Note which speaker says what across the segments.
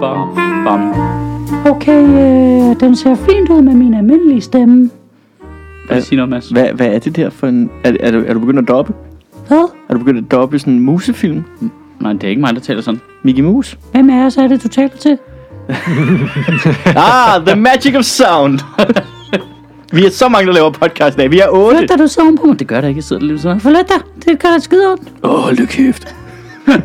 Speaker 1: bam, bam.
Speaker 2: Okay, øh, den ser fint ud med min almindelige stemme.
Speaker 1: Hvad siger noget, Mads?
Speaker 3: Hvad, hvad er det der for en... Er, er, du, er du begyndt at doppe?
Speaker 2: Hvad?
Speaker 3: Er du begyndt at doppe sådan en musefilm?
Speaker 1: Nej, det er ikke mig, der taler sådan.
Speaker 3: Mickey Mouse?
Speaker 2: Hvem af os er det, du taler til?
Speaker 3: ah, the magic of sound! vi er så mange, der laver podcast i dag. Vi er otte.
Speaker 2: Flytter du så ovenpå mig?
Speaker 1: Det gør der ikke, jeg sidder lige sådan.
Speaker 2: Forlet dig. Det gør dig skide ondt.
Speaker 3: Åh, oh, lykke kæft.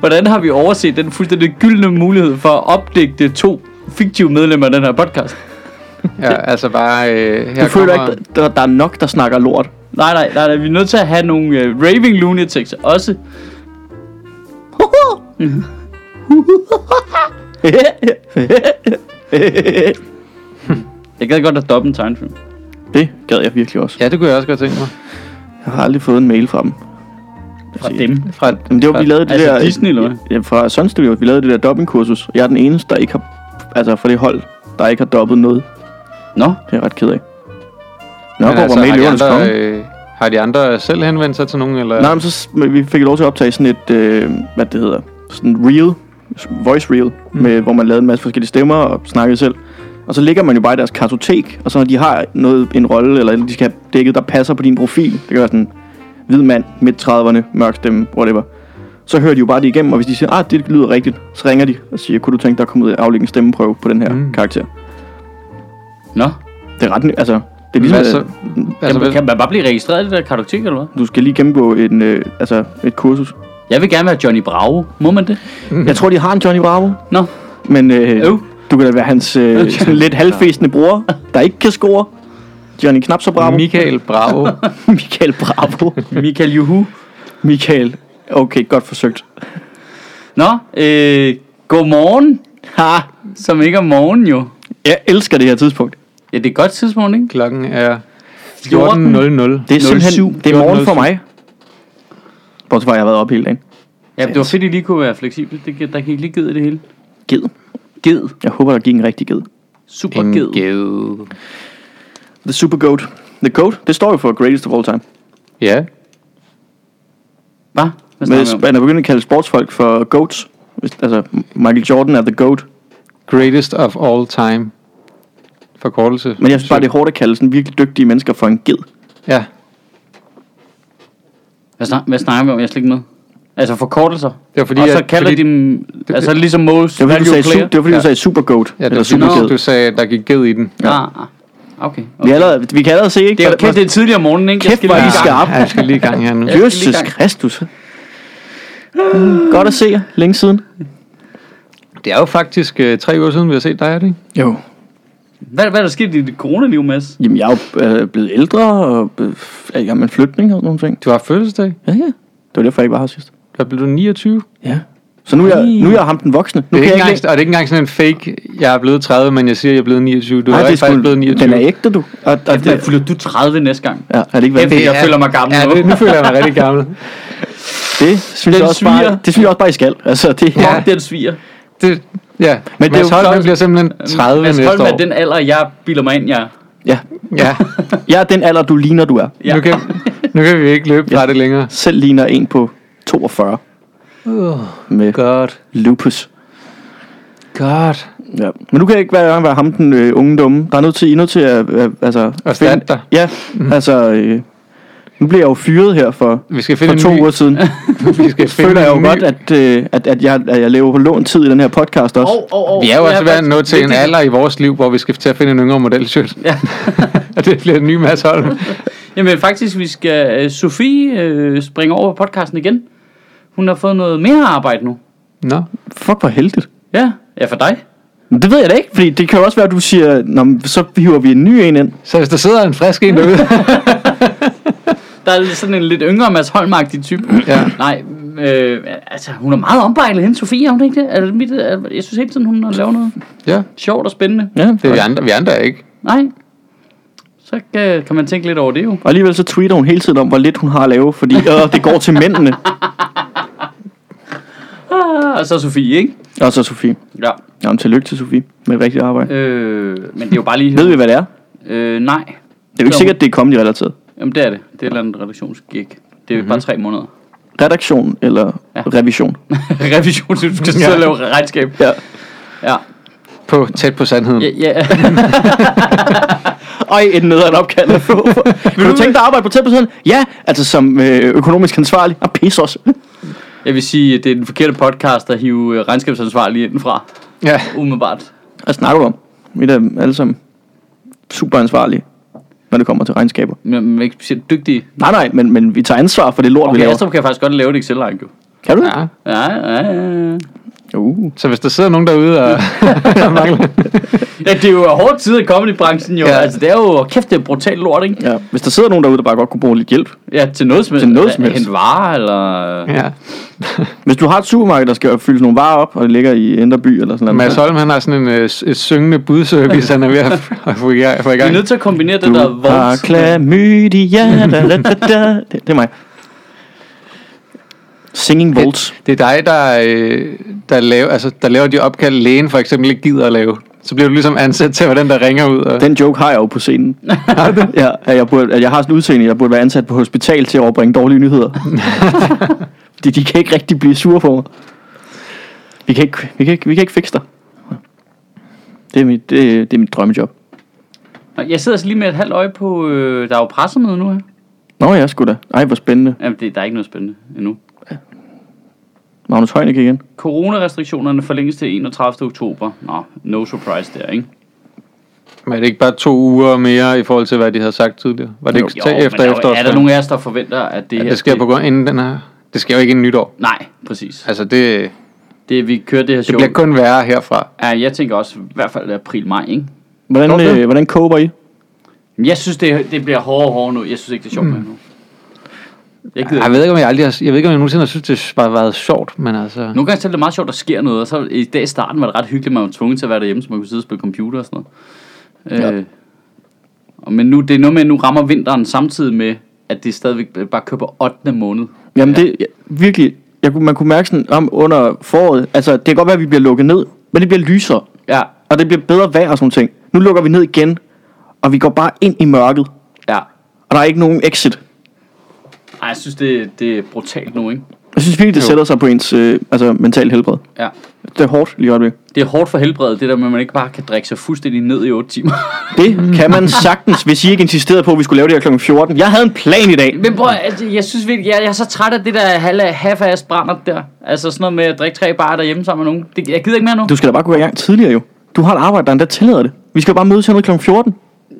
Speaker 1: Hvordan har vi overset den fuldstændig gyldne mulighed for at opdigte to fiktive medlemmer af den her podcast?
Speaker 4: Ja, altså bare... Øh, her
Speaker 3: Du føler
Speaker 4: kommer-
Speaker 3: ikke, der, der er nok, der snakker lort.
Speaker 1: Nej, nej, nej, nej vi er nødt til at have nogle øh, raving lunatics også. Jeg gad godt at doppe en tegnefilm.
Speaker 3: det gad jeg virkelig også.
Speaker 4: Ja, det kunne jeg også godt tænke mig.
Speaker 3: Jeg har aldrig fået en mail fra dem.
Speaker 1: Fra dem.
Speaker 4: Fra,
Speaker 3: Jamen, det var, vi lavede det
Speaker 1: altså
Speaker 3: der...
Speaker 1: Disney, eller hvad?
Speaker 3: Ja, fra Sun Studios. Vi lavede det der dobbingkursus. Jeg er den eneste, der ikke har... Altså, for det hold, der ikke har dobbet noget.
Speaker 1: Nå,
Speaker 3: Det er jeg ret ked af. Nå,
Speaker 4: Men
Speaker 3: hvor altså, var med i
Speaker 4: har, de
Speaker 3: Løvernes Konge.
Speaker 4: andre, øh, har de andre selv henvendt sig til nogen? Eller?
Speaker 3: Nej, men så s- men vi fik lov til at optage sådan et, øh, hvad det hedder, sådan reel, voice reel, mm. med, hvor man lavede en masse forskellige stemmer og snakkede selv. Og så ligger man jo bare i deres kartotek, og så når de har noget, en rolle, eller de skal have dækket, der passer på din profil, det kan være sådan, hvid mand, midt 30'erne, mørk stemme, whatever. Så hører de jo bare det igennem, og hvis de siger, ah, det lyder rigtigt, så ringer de og siger, kunne du tænke dig at komme ud og aflægge en stemmeprøve på den her mm.
Speaker 4: Mm.
Speaker 3: karakter?
Speaker 1: nå.
Speaker 3: Det er ret, ny- altså, det er
Speaker 4: Hvad
Speaker 3: ligesom,
Speaker 4: så?
Speaker 3: at
Speaker 4: Altså,
Speaker 1: Jamen,
Speaker 4: hvad,
Speaker 1: kan man bare blive registreret i det der kartotek, eller hvad?
Speaker 3: du skal lige gennemgå en, øh, altså, et kursus.
Speaker 1: Jeg vil gerne være Johnny Bravo. Må man det?
Speaker 3: Jeg tror, de har en Johnny Bravo.
Speaker 1: Nå,
Speaker 3: Men øh,
Speaker 1: Øv.
Speaker 3: du kan da være hans øh, sådan lidt halvfæsende bror, der ikke kan score. Johnny knap så bravo.
Speaker 4: Michael Bravo.
Speaker 3: Michael Bravo.
Speaker 1: Michael Juhu.
Speaker 3: Michael. Okay, godt forsøgt.
Speaker 1: Nå, øh, godmorgen,
Speaker 3: Ha!
Speaker 1: som ikke er morgen jo.
Speaker 3: Jeg elsker det her tidspunkt.
Speaker 1: Ja, det er et godt tidspunkt, ikke?
Speaker 4: Klokken er 14.00.
Speaker 1: 14.
Speaker 3: Det er simpelthen
Speaker 4: 07.
Speaker 3: det er morgen for
Speaker 4: 14.07.
Speaker 3: mig. Bortset fra, at jeg har været oppe hele dagen.
Speaker 1: Ja, det var fedt, at I lige kunne være fleksible. Det, gi- der gik lige ged i det hele.
Speaker 3: Ged.
Speaker 1: Ged.
Speaker 3: Jeg håber, der gik en rigtig ged.
Speaker 1: Super
Speaker 4: En
Speaker 1: ged.
Speaker 4: ged.
Speaker 3: The Super Goat. The Goat, det står jo for Greatest of All Time.
Speaker 4: Ja,
Speaker 1: Hva? Hvad
Speaker 3: Men
Speaker 1: snakker vi om?
Speaker 3: man er begyndt at kalde sportsfolk for goats. Hvis- Altså, Michael Jordan er The Goat.
Speaker 4: greatest of all time. Forkortelse.
Speaker 3: Men jeg synes bare, det er hårdt at kalde sådan virkelig dygtige mennesker for en ged.
Speaker 4: Ja,
Speaker 1: Hvad, snak, hvad snakker vi om? Jeg er slet ikke med. Altså forkortelser.
Speaker 4: det var fordi,
Speaker 1: og så
Speaker 4: at-
Speaker 1: kalder
Speaker 4: fordi,
Speaker 1: de dem... Altså ligesom most
Speaker 3: Det var fordi, du sagde,
Speaker 1: value
Speaker 3: su-
Speaker 1: player.
Speaker 3: det var, fordi, du
Speaker 4: Ja.
Speaker 3: sagde Super Goat.
Speaker 4: ja, det
Speaker 3: eller
Speaker 4: var
Speaker 3: Super
Speaker 4: fordi,
Speaker 3: Ged.
Speaker 4: du sagde, at der gik ged i den.
Speaker 1: Ja. Ah, ah. okay.
Speaker 3: Vi,
Speaker 1: okay.
Speaker 3: er allerede, vi kan allerede se, ikke?
Speaker 1: Det er jo kæft, det er tidligere om morgenen, ikke?
Speaker 3: Kæft, hvor er I skarpe.
Speaker 4: Ja, jeg skal lige i gang her nu.
Speaker 1: Ja. skal lige i
Speaker 3: Jesus
Speaker 1: gang.
Speaker 3: Kristus. Mm, Godt at se jer. Længe siden.
Speaker 4: Det er jo faktisk øh, tre uger siden, vi har set dig, er det ikke?
Speaker 3: Jo.
Speaker 1: Hvad, hvad er der sket i dit coronaliv, Mads?
Speaker 3: Jamen, jeg er jo øh, blevet ældre, og øh, er i gang med en flytning og sådan nogle ting.
Speaker 4: Du har fødselsdag.
Speaker 3: Ja, ja. Det var derfor, jeg ikke var her sidst.
Speaker 4: Der blev du 29.
Speaker 3: Ja. Så nu er, jeg, nu er jeg ham den voksne. Nu
Speaker 4: Det er,
Speaker 3: kan
Speaker 4: ikke
Speaker 3: jeg
Speaker 4: engang,
Speaker 3: ikke...
Speaker 4: og det er ikke engang sådan en fake, jeg er blevet 30, men jeg siger, jeg er blevet 29. Du
Speaker 3: Nej,
Speaker 4: er
Speaker 3: det
Speaker 4: ikke
Speaker 3: er
Speaker 4: faktisk blevet
Speaker 3: sgu...
Speaker 4: 29.
Speaker 3: Den er ægte, du. Og, og
Speaker 1: Kæft,
Speaker 3: det,
Speaker 1: man, fylder du 30 næste gang?
Speaker 3: ja, er det ikke
Speaker 1: Kæft,
Speaker 3: vanvittigt?
Speaker 1: jeg føler mig gammel
Speaker 4: Ja,
Speaker 1: nu.
Speaker 4: det, nu føler jeg mig rigtig gammel.
Speaker 3: Det synes jeg også bare,
Speaker 1: sviger.
Speaker 3: det synes jeg også bare, I skal. Altså, det,
Speaker 1: Ja.
Speaker 4: Ja.
Speaker 1: Fuck, den sviger.
Speaker 4: Det, ja,
Speaker 3: Men
Speaker 4: men
Speaker 3: det er
Speaker 4: Mads
Speaker 3: jo
Speaker 4: Holm
Speaker 3: flot.
Speaker 4: bliver simpelthen 30
Speaker 1: Mads
Speaker 4: næste
Speaker 1: Holm er
Speaker 4: år.
Speaker 1: den alder, jeg bilder mig ind, jeg er.
Speaker 3: ja.
Speaker 4: Ja,
Speaker 3: Jeg er den alder, du ligner, du er.
Speaker 1: Ja.
Speaker 4: nu kan, nu kan vi ikke løbe fra det længere.
Speaker 3: Selv ligner en på 42 Oh, med
Speaker 4: Godt.
Speaker 3: lupus.
Speaker 4: Godt.
Speaker 3: Ja. Men du kan ikke være, være ham, den øh, unge dumme. Der er nødt til, I er nødt til at... Øh, altså,
Speaker 4: Og stand dig. Mhm.
Speaker 3: Ja, altså... Øh, nu bliver jeg jo fyret her for,
Speaker 4: Vi skal
Speaker 3: for
Speaker 4: finde
Speaker 3: to
Speaker 4: en ny,
Speaker 3: uger siden.
Speaker 4: Vi skal
Speaker 3: Det føler
Speaker 4: en
Speaker 3: jeg jo
Speaker 4: ny-
Speaker 3: godt, at, øh, at, at, jeg, at jeg lever på lånt tid i den her podcast også.
Speaker 1: Og, og, og,
Speaker 4: Vi er jo altså været nået til en
Speaker 1: vigtigt-
Speaker 4: alder i vores liv, hvor vi skal til at finde en yngre modelshirt.
Speaker 1: Ja.
Speaker 4: Og det bliver en ny Mads Holm.
Speaker 1: Jamen faktisk, vi skal... Øh, Sofie øh, springer over på podcasten igen. Hun har fået noget mere arbejde nu.
Speaker 4: Nå,
Speaker 3: Fuck, hvor heldigt.
Speaker 1: Ja, ja for dig.
Speaker 3: Men det ved jeg da ikke, fordi det kan jo også være, at du siger, Nå, men så hiver vi en ny en ind.
Speaker 4: så hvis der sidder en frisk en derude.
Speaker 1: Der er sådan en lidt yngre Mads holm type.
Speaker 4: Ja.
Speaker 1: Nej, øh, altså hun er meget ombejlet hende, Sofie, er hun ikke det? Er det mit, er, jeg synes hele tiden, hun har lavet noget
Speaker 4: Ja,
Speaker 1: sjovt og spændende.
Speaker 3: Ja,
Speaker 4: det er vi andre, vi andre er ikke.
Speaker 1: Nej, så kan, kan man tænke lidt over det jo.
Speaker 3: Og alligevel så tweeter hun hele tiden om, hvor lidt hun har at lave, fordi øh, det går til mændene.
Speaker 1: Ah, og så Sofie, ikke?
Speaker 3: Og så Sofie.
Speaker 1: Ja.
Speaker 3: Jamen, tillykke til Sofie med rigtigt arbejde.
Speaker 1: Øh, men det er jo bare lige...
Speaker 3: Ved vi, hvad det er?
Speaker 1: Øh, nej.
Speaker 3: Det er jo ikke
Speaker 1: Jo.
Speaker 3: sikkert, det er comedy relateret. Mhm.
Speaker 1: Jamen det er det. Det er et eller andet redaktionsgig. Det er mm-hmm. bare tre måneder.
Speaker 3: redaktion eller
Speaker 1: Ja.
Speaker 3: ja. revision.
Speaker 1: Revision, så du skal sidde og lave regnskab.
Speaker 3: Ja.
Speaker 1: Ja.
Speaker 4: På, tæt på sandheden.
Speaker 1: Ja, ja.
Speaker 3: Ej, et nederen opkald at få. Vil du tænke dig at arbejde på 10%? Ja, altså som øh, økonomisk ansvarlig. Ah, pis også.
Speaker 1: Jeg vil sige, at det er den forkerte podcast at hive øh, regnskabsansvarlige indenfra.
Speaker 4: Ja.
Speaker 1: Umiddelbart.
Speaker 3: Hvad snakker du om? Vi er da alle sammen super ansvarlige, når det kommer til regnskaber.
Speaker 1: Men men ikke specielt dygtige.
Speaker 3: Nej, nej, men, men vi tager ansvar for det lort, vi
Speaker 1: Okay,
Speaker 3: laver.
Speaker 1: Astrup kan faktisk godt lave et Excel-regn, jo.
Speaker 3: Kan du det?
Speaker 4: ja.
Speaker 1: Ja, ja, ja.
Speaker 3: Ja. Uh.
Speaker 4: Så hvis der sidder nogen derude og og mangler...
Speaker 1: Ja, det er jo hårdt tid i comedybranchen, jo. Ja.
Speaker 4: Ja.
Speaker 1: Altså, det er jo, kæft, det er brutalt lort, ikke?
Speaker 3: Ja. Hvis der sidder nogen derude, der bare godt kunne bruge lidt hjælp.
Speaker 1: Ja, til noget som helst.
Speaker 3: Til noget som helst.
Speaker 1: Hente varer, eller...
Speaker 4: Ja.
Speaker 3: Hvis du har et supermarked, der skal fyldes nogle varer op, og det ligger i Indre By eller sådan
Speaker 4: Mads
Speaker 3: noget.
Speaker 4: Holm, han har sådan en øh, s- et syngende budservice, han er ved at f- at få i gang. Få i
Speaker 1: Vi er
Speaker 4: gang.
Speaker 1: nødt til at kombinere det der
Speaker 3: Du har
Speaker 1: vold.
Speaker 3: klamydia, da, da, da, da. Det, det er mig. Singing Volts.
Speaker 4: Det er dig, der, øh, der, laver, altså, der laver de opkald, lægen for eksempel ikke gider at lave. Så bliver du ligesom ansat til at være den, der ringer ud. Og...
Speaker 3: Den joke har jeg jo på scenen. ja, at jeg, burde, at jeg har sådan en udseende, jeg burde være ansat på hospital til at overbringe dårlige nyheder. de, de kan ikke rigtig blive sure på mig. Vi kan ikke, vi kan ikke, vi kan ikke fikse dig. Det er mit, det, det er mit drømmejob.
Speaker 1: Nå, Jeg sidder altså lige med et halvt øje på... Øh, der er jo pressemøde nu her.
Speaker 3: Nå ja, sgu da. Ej, hvor spændende.
Speaker 1: Jamen, det, der er ikke noget spændende endnu.
Speaker 3: Magnus Heunicke igen.
Speaker 1: Coronarestriktionerne forlænges til 31. oktober. Nå, no surprise der, ikke?
Speaker 4: Men er det ikke bare to uger mere i forhold til, hvad de havde sagt tidligere? Var det ikke
Speaker 1: Jo,
Speaker 4: til
Speaker 1: men
Speaker 4: efter
Speaker 1: der er jo-
Speaker 4: efter?
Speaker 1: Er der nogen af os, der forventer, at det
Speaker 4: Ja,
Speaker 1: her...
Speaker 4: det sker på grund inden den her. Det sker jo ikke inden nytår.
Speaker 1: Nej, præcis.
Speaker 4: Altså det,
Speaker 1: Det, vi kører det her
Speaker 4: det
Speaker 1: show...
Speaker 4: bliver kun værre herfra.
Speaker 1: Ja, jeg tænker også i hvert fald april-maj, ikke?
Speaker 3: Hvordan,
Speaker 4: Tror du det?
Speaker 3: øh, hvordan kober I?
Speaker 1: Men jeg synes, det, det bliver hårdere og hårdere nu. Jeg synes ikke, det er sjovt mm. nu. Jeg gider
Speaker 4: Jeg
Speaker 1: ikke.
Speaker 4: ved ikke, om jeg, aldrig har, jeg ved ikke, om jeg nogensinde har synes, det bare har været sjovt, men altså...
Speaker 1: Nogle gange så er det meget sjovt, der sker noget, og så i dag i starten var det ret hyggeligt, man var tvunget til at være derhjemme, så man kunne sidde og spille computer og sådan noget. Ja. Øh, og men nu, det er noget med, at nu rammer vinteren samtidig med, at det stadigvæk bare kører på 8. måned.
Speaker 3: Jamen det, jeg, virkelig, jeg, kunne- man kunne mærke sådan om under foråret, altså det kan godt være, at vi bliver lukket ned, men det bliver lysere,
Speaker 1: Ja,
Speaker 3: og det bliver bedre vejr og sådan nogle ting. Nu lukker vi ned igen, og vi går bare ind i mørket,
Speaker 1: ja.
Speaker 3: og der er ikke nogen exit.
Speaker 1: Ej, jeg synes, det, det er brutalt nu, ikke?
Speaker 3: Jeg synes virkelig, det sætter sig på ens øh, altså, mental helbred.
Speaker 1: Ja.
Speaker 3: Det er hårdt lige i øjeblikket.
Speaker 1: Det er hårdt for helbredet, det der med, at man ikke bare kan drikke sig fuldstændig ned i 8 timer.
Speaker 3: Det kan man sagtens, hvis I ikke insisterede på, at vi skulle lave det her kl. 14. Jeg havde en plan i dag.
Speaker 1: Men bror, altså, jeg synes virkelig, jeg, jeg er så træt af det der halv- half-ass brænder der. Altså sådan noget med at drikke tre bare derhjemme sammen med nogen. Det, jeg gider ikke mere nu.
Speaker 3: Du skal da bare gå i gang tidligere jo. Du har et arbejde, der endda tillader det. Vi skal bare mødes hernede kl. 14.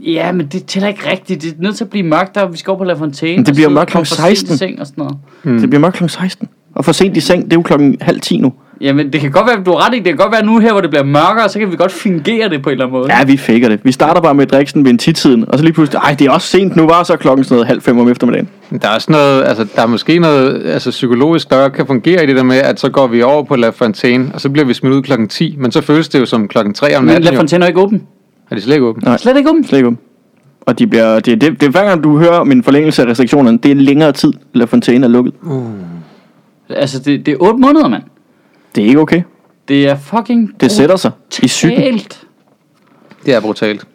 Speaker 1: Ja, men det tæller ikke rigtigt. Det er nødt til at blive mørkt der. Vi skal over på La Fontaine.
Speaker 3: Men det
Speaker 1: og
Speaker 3: bliver
Speaker 1: sidde
Speaker 3: mørkt
Speaker 1: og komme
Speaker 3: klokken
Speaker 1: for sent i
Speaker 3: 16.
Speaker 1: Seng og sådan noget.
Speaker 3: Mm. Det bliver mørkt kl. 16. Og for sent i seng, det er jo klokken halv 10 nu.
Speaker 1: Jamen, det kan godt være, du har ret i. Det kan godt være nu her, hvor det bliver mørkere, så kan vi godt fingere det på en eller anden måde.
Speaker 3: Ja, vi faker det. Vi starter bare med at drikke sådan ved en tidtiden, og så lige pludselig, ej, det er også sent nu, var så er klokken sådan noget halv fem om eftermiddagen.
Speaker 4: Der er også noget, altså der er måske noget altså, psykologisk, der kan fungere i det der med, at så går vi over på La Fontaine, og så bliver vi smidt ud klokken 10, men så føles det jo som klokken 3 om
Speaker 1: Men
Speaker 4: natten.
Speaker 1: La
Speaker 4: jo.
Speaker 1: Fontaine er ikke åben.
Speaker 4: Er det slet ikke åbent?
Speaker 3: Nej.
Speaker 1: Slet ikke åben.
Speaker 3: Slet ikke om. Og de bliver, det, det, det, er hver gang du hører om en forlængelse af restriktionerne, det er længere tid, La Fontaine er lukket.
Speaker 1: Altså, det, det er 8 måneder, mand.
Speaker 3: Det er ikke okay.
Speaker 1: Det er fucking
Speaker 3: Det sætter sig i psyken.
Speaker 1: brutalt.
Speaker 4: Det er brutalt.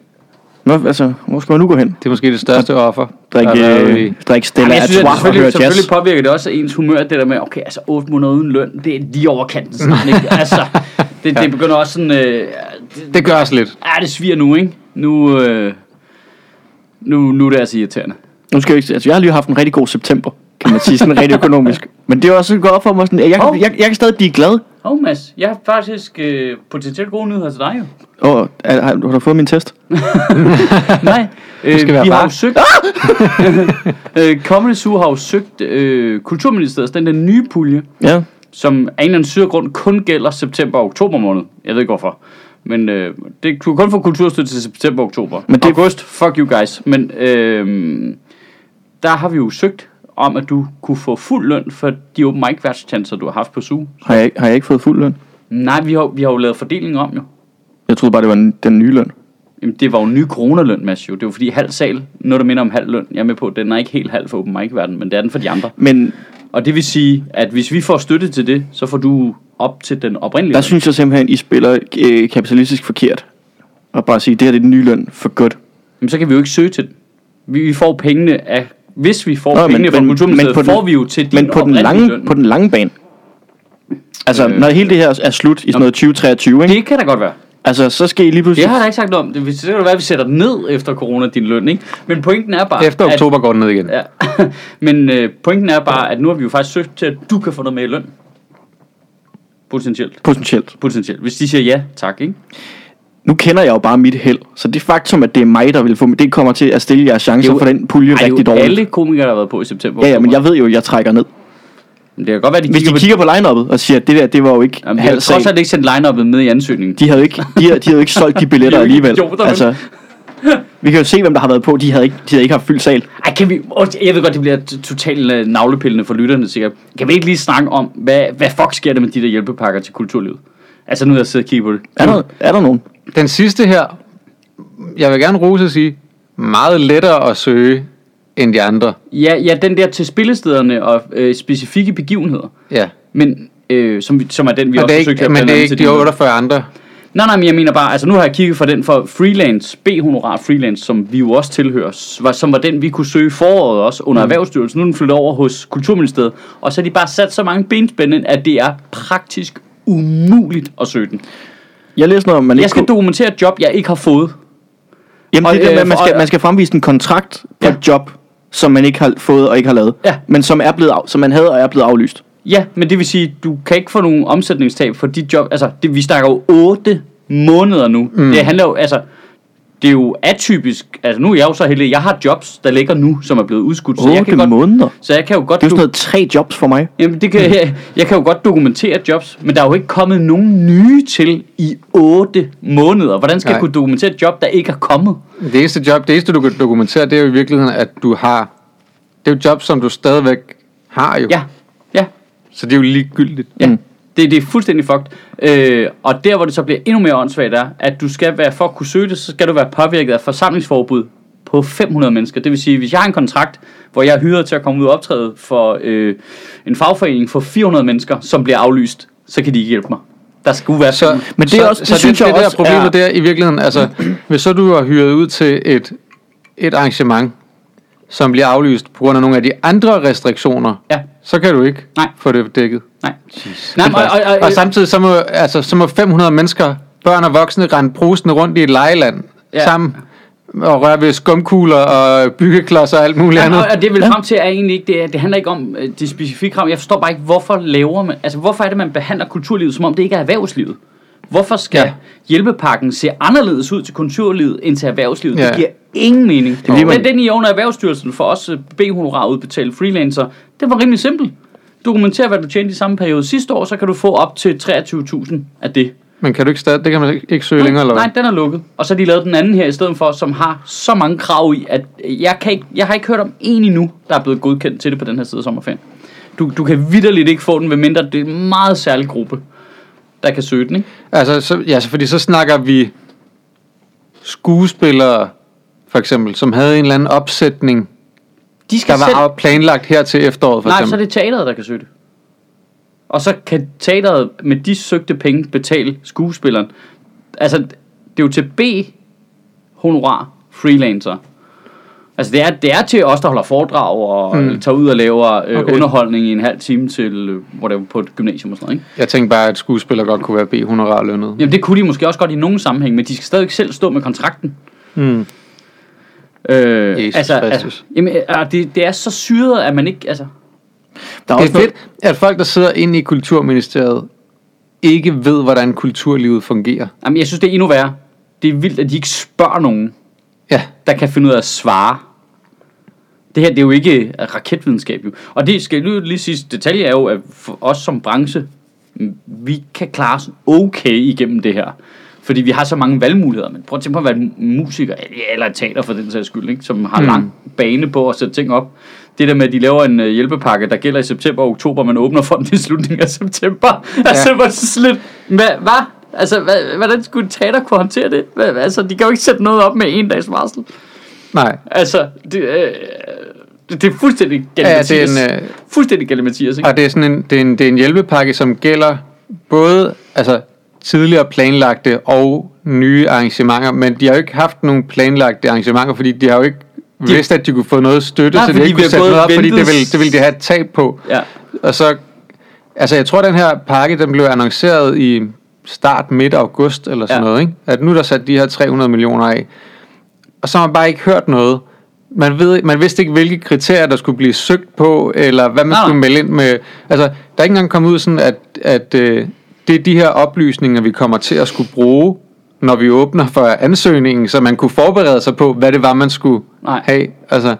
Speaker 3: Nå, altså, hvor skal man nu gå hen?
Speaker 4: Det er måske det største offer. der har
Speaker 3: Drikke,
Speaker 4: været
Speaker 3: øh,
Speaker 4: i-
Speaker 3: drikke Stella
Speaker 1: Jamen, jeg synes, at
Speaker 3: Artois
Speaker 1: det
Speaker 3: og høre
Speaker 1: selvfølgelig,
Speaker 3: jazz.
Speaker 1: selvfølgelig påvirker det også ens humør, det der med, okay, altså 8 måneder uden løn, det er lige over kanten sådan, ikke? Altså, det, det begynder også sådan, øh, det,
Speaker 4: Det gør os lidt.
Speaker 1: ah, det sviger nu, ikke? Nu, øh, nu, nu er det altså irriterende.
Speaker 3: Nu skal jeg, ikke- altså, jeg har lige haft en rigtig god september, kan man sige, sådan rent økonomisk. Men det er også godt op for mig, sådan, at jeg, kan,
Speaker 1: Hov.
Speaker 3: jeg, jeg, kan stadig blive glad.
Speaker 1: Åh, oh, Mads, jeg har faktisk øh, potentielt gode nyheder til dig, jo.
Speaker 3: Og, er, har, har du fået min test?
Speaker 1: Nej, øh,
Speaker 4: skal være
Speaker 1: vi har
Speaker 4: var.
Speaker 1: jo søgt... øh, Comedy Zoo har jo søgt øh, Kulturministeriet, den der nye pulje,
Speaker 3: Ja.
Speaker 1: som af en eller anden syg grund kun gælder september og oktober måned. Jeg ved ikke hvorfor. Men øh, det, du kan kun få kulturstøtte til september og oktober. Men
Speaker 3: Men
Speaker 1: det...
Speaker 3: det-
Speaker 1: August, fuck you guys. Men øh, der har vi jo søgt om, at du kunne få fuld løn for de open mic værtschancer, du har haft på SU.
Speaker 3: Har jeg, har jeg ikke fået fuld løn?
Speaker 1: Nej, vi har, vi har jo lavet fordelingen om jo.
Speaker 3: Jeg troede bare, det var den, den nye løn.
Speaker 1: Jamen, det var jo ny coronaløn, Mads, jo. Det var fordi halv sal, noget der minder om halv løn. Jeg er med på, at den er ikke helt halv for open mic verden, men det er den for de andre.
Speaker 3: Men
Speaker 1: Og det vil sige, at hvis vi får støtte til det, så får du op til den oprindelige
Speaker 3: Der
Speaker 1: løn.
Speaker 3: synes jeg simpelthen, I spiller øh, kapitalistisk forkert. Og bare sige, det her det er den nye løn for godt.
Speaker 1: Jamen, så kan vi jo ikke søge til den. Vi, vi får pengene af hvis vi får
Speaker 3: Nå,
Speaker 1: Nå,
Speaker 3: men-
Speaker 1: pengene fra
Speaker 3: men-
Speaker 1: Kulturministeriet,
Speaker 3: men på den-
Speaker 1: får vi jo til din
Speaker 3: Men på den,
Speaker 1: oprindelige
Speaker 3: lange,
Speaker 1: løn.
Speaker 3: på den lange bane. Altså,
Speaker 1: Øh.
Speaker 3: øh, når hele det her er slut i sådan noget 2023, ikke?
Speaker 1: Det kan da godt være.
Speaker 3: Altså, så skal I lige pludselig...
Speaker 1: Det har jeg da ikke sagt noget om. Det, det kan jo være, at vi sætter den ned efter corona, din løn, ikke? Men pointen er bare...
Speaker 4: Efter oktober går den ned igen.
Speaker 1: At, ja. Men øh, pointen er bare, at nu har vi jo faktisk søgt til, at du kan få noget med i løn. Potentielt.
Speaker 3: Potentielt.
Speaker 1: Potentielt. Hvis de siger ja, tak, ikke?
Speaker 3: Nu kender jeg jo bare mit held, så det faktum, at det er mig, der vil få... Det kommer til at stille jeres chancer
Speaker 1: Det er jo-
Speaker 3: for den pulje
Speaker 1: Ej,
Speaker 3: rigtig
Speaker 1: det er jo
Speaker 3: dårligt.
Speaker 1: alle komikere, der har været på i september.
Speaker 3: Ja, ja, men jeg ved jo, at jeg trækker ned.
Speaker 1: Men Det kan godt være, de
Speaker 3: Hvis de
Speaker 1: kigger,
Speaker 3: kigger på line og siger, at det der, det var jo ikke
Speaker 1: på... Jamen, de har
Speaker 3: halv
Speaker 1: trods
Speaker 3: sag.
Speaker 1: alt ikke sendt line med i ansøgningen.
Speaker 3: De havde, ikke, de, havde, de havde ikke solgt de billetter
Speaker 1: De er jo ikke
Speaker 3: alligevel.
Speaker 1: idioter, vel?
Speaker 3: altså, vi kan jo se, hvem der har været på. De havde ikke, de havde ikke haft fyldt sal.
Speaker 1: Ej, kan vi, Åh, jeg ved godt, det bliver t- totalt øh, navlepillende for lytterne sikkert. Kan vi ikke lige snakke om, hvad, hvad fuck sker der med de der hjælpepakker til kulturlivet? Altså nu har jeg siddet og kigget på det.
Speaker 3: Er der, er der nogen?
Speaker 4: Den sidste her, jeg vil gerne rose og sige, meget lettere at søge end de andre.
Speaker 1: Ja, ja den der til spillestederne og øh, specifikke begivenheder.
Speaker 4: Ja.
Speaker 1: Men øh, som, vi- som er den, vi
Speaker 4: Men det
Speaker 1: også
Speaker 4: er
Speaker 1: forsøgte
Speaker 4: ikke, men det er ikke de 48 andre.
Speaker 1: Nej, nej, men jeg mener bare, altså nu har jeg kigget for den for freelance, B-honorar freelance, som vi jo også tilhører, s- var- som var den, vi kunne søge i foråret også under mm. Erhvervsstyrelsen. Nu er den flyttet over hos Kulturministeriet, og så har de bare sat så mange benspænd ind, at det er praktisk umuligt at søge den.
Speaker 3: Jeg læste noget om, man ikke
Speaker 1: Jeg skal
Speaker 3: kunne...
Speaker 1: dokumentere et job, jeg ikke har fået.
Speaker 3: Jamen,
Speaker 1: Og,
Speaker 3: det der med,
Speaker 1: øh,
Speaker 3: at man
Speaker 1: for-
Speaker 3: skal, man skal fremvise en kontrakt på
Speaker 1: Ja.
Speaker 3: et job, som man ikke har fået og ikke har lavet.
Speaker 1: Ja.
Speaker 3: Men som, er blevet af, som man havde og er blevet aflyst.
Speaker 1: Ja, men det vil sige, du kan ikke få nogen omsætningstab for dit job. Altså, det, vi snakker jo 8 måneder nu. Mm. Det handler jo, altså, det er jo atypisk. Altså, nu er jeg jo så heldig. Jeg har jobs, der ligger nu, som er blevet udskudt. Så jeg kan
Speaker 3: 8
Speaker 1: godt,
Speaker 3: måneder.
Speaker 1: Så jeg kan jo godt...
Speaker 3: Det er jo sådan
Speaker 1: do-
Speaker 3: noget tre jobs for mig.
Speaker 1: Jamen, det kan, jeg, jeg kan jo godt dokumentere jobs, men der er jo ikke kommet nogen nye til i 8 måneder. Hvordan skal Nej.
Speaker 4: Nej.
Speaker 1: jeg kunne dokumentere et job, der ikke er kommet?
Speaker 4: Det eneste job, det eneste du kan dokumentere, det er jo i virkeligheden, at du har... Det er jo et job, som du stadigvæk har jo.
Speaker 1: Ja, ja,
Speaker 4: Så det er jo ligegyldigt.
Speaker 1: ja. Mm. Det, det er fuldstændig fucked. Øh, og der, hvor det så bliver endnu mere åndssvagt, er, at du skal være, for at kunne søge det, så skal du være påvirket af forsamlingsforbud på 500 mennesker. Det vil sige, hvis jeg har en kontrakt, hvor jeg er hyret til at komme ud og optræde for øh, en fagforening for 400 mennesker, som bliver aflyst, så kan de ikke hjælpe mig. Der skulle være
Speaker 4: Så,
Speaker 1: så...
Speaker 3: Men det er også- det synes jeg
Speaker 4: det, det
Speaker 3: også
Speaker 4: der problemet
Speaker 3: er-
Speaker 4: der i virkeligheden, altså, hvis så du har hyret ud til et, et arrangement, som bliver aflyst på grund af nogle af de andre restriktioner,
Speaker 1: Ja.
Speaker 4: så kan du ikke
Speaker 1: Nej.
Speaker 4: få det dækket.
Speaker 1: Nej. Nej, men- og, og, og,
Speaker 4: Og samtidig så må, altså, så må 500 mennesker, børn og voksne, rende brusende rundt i et lejeland
Speaker 1: Ja.
Speaker 4: ja. sammen og røre ved skumkugler og byggeklodser og alt muligt
Speaker 1: Ja,
Speaker 4: andet.
Speaker 1: og, og det vil frem til er egentlig ikke det, er- det handler ikke om øh, de specifikke rammer. Jeg forstår bare ikke hvorfor laver man altså hvorfor er det man behandler kulturlivet som om det ikke er erhvervslivet. Hvorfor skal ja.
Speaker 4: Ja.
Speaker 1: hjælpepakken se anderledes ud til kulturlivet end til erhvervslivet? Ja.
Speaker 4: Ja.
Speaker 1: Det giver ingen mening. Det
Speaker 3: fordi, man-
Speaker 1: Men den i under Erhvervsstyrelsen for os B-honorar udbetale freelancer, det var rimelig simpelt. Dokumenter, hvad du tjente i samme periode sidste år, så kan du få op til 23.000 af det.
Speaker 4: Men kan du ikke stadig, det kan man ikke, ikke søge længere, eller hvad?
Speaker 1: Nej, den er lukket. Og så har de lavet den anden her i stedet for, som har så mange krav i, at jeg, kan ikke, jeg har ikke hørt om en endnu, der er blevet godkendt til det på den her side af sommerferien. Du, du kan vidderligt ikke få den, medmindre det er en meget særlig gruppe, der kan søge den, ikke?
Speaker 4: Altså, så, ja, så, fordi så snakker vi skuespillere, for eksempel, som havde en eller anden opsætning,
Speaker 1: De skal
Speaker 4: der
Speaker 1: selv...
Speaker 4: var af- planlagt her til efteråret, for
Speaker 1: Nej,
Speaker 4: eksempel.
Speaker 1: så er det teateret, der kan søge det. Og så kan teateret med de søgte penge betale skuespilleren. Altså, det er jo til B-honorar freelancer. Altså, det er, det er til os, der holder foredrag og mm. tager ud og laver øh, okay.
Speaker 4: Hmm. Okay.
Speaker 1: underholdning i en halv time til, øh, hvor det var på et gymnasium og sådan noget, ikke?
Speaker 4: Jeg tænkte bare, at skuespillere godt kunne være B-honorar lønnet.
Speaker 1: Jamen, det kunne de måske også godt i nogen sammenhæng, men de skal stadigvæk selv stå med kontrakten.
Speaker 4: Mm.
Speaker 1: Øh,
Speaker 4: Jesus
Speaker 1: altså, altså,
Speaker 4: Kristus.
Speaker 1: jamen, øh, det, det er så syret, at man ikke, altså...
Speaker 3: Der er
Speaker 4: Det
Speaker 3: også
Speaker 4: er fedt, at folk, der sidder inde i Kulturministeriet, ikke ved, hvordan kulturlivet fungerer.
Speaker 1: Jamen, jeg synes, det er endnu værre. Det er vildt, at de ikke spørger nogen.
Speaker 4: Ja,
Speaker 1: der kan finde ud af at svare. Det her, det er jo ikke raketvidenskab, jo. Og det skal nu lige sidst detalje er jo, at for os som branche, mm, vi kan klare os okay igennem det her. Fordi vi har så mange valgmuligheder. Men prøv at tænke på at være en musiker, eller et teater for den sags skyld, ikke? som har mm. lang bane på at sætte ting op. Det der med, at de laver en øh, hjælpepakke, der gælder i september og oktober, men åbner for den i slutningen af september. Altså, hvor sådan lidt... Hvad? hvad? Altså, hvad, hvordan skulle et teater kunne håndtere det? Hvad, altså, de kan jo ikke sætte noget op med en dags varsel.
Speaker 4: nej.
Speaker 1: Altså, det, øh, det, det er fuldstændig galt,
Speaker 4: Ja,
Speaker 1: ja,
Speaker 4: det er
Speaker 1: Mathias.
Speaker 4: en,
Speaker 1: Øh...
Speaker 4: øh,
Speaker 1: Fuldstændig galt, Mathias, ikke?
Speaker 4: Og det er sådan en, det er en, det er en hjælpepakke, som gælder både altså, tidligere planlagte og nye arrangementer, men de har jo ikke haft nogen planlagte arrangementer, fordi de har jo ikke de, vidste, at de kunne få noget støtte, nej, så de ikke kunne sætte noget op, fordi det ville, det ville de have et tab på.
Speaker 1: Ja.
Speaker 4: Og så, altså jeg tror, den her pakke, den blev annonceret i start midt august eller sådan
Speaker 1: Ja.
Speaker 4: ja. noget, ikke? At nu er der sat de her 300 millioner af. Og så har man bare ikke hørt noget. Man, ved, man vidste ikke, hvilke kriterier, der skulle blive søgt på, eller hvad man
Speaker 1: Nej,
Speaker 4: nej, skulle
Speaker 1: nej.
Speaker 4: melde ind med. Altså, der er ikke engang kommet ud sådan, at, at øh, det er de her oplysninger, vi kommer til at skulle bruge, når vi åbner for ansøgningen, så man kunne forberede sig på, hvad det var, man skulle
Speaker 1: Nej.
Speaker 4: have. Altså,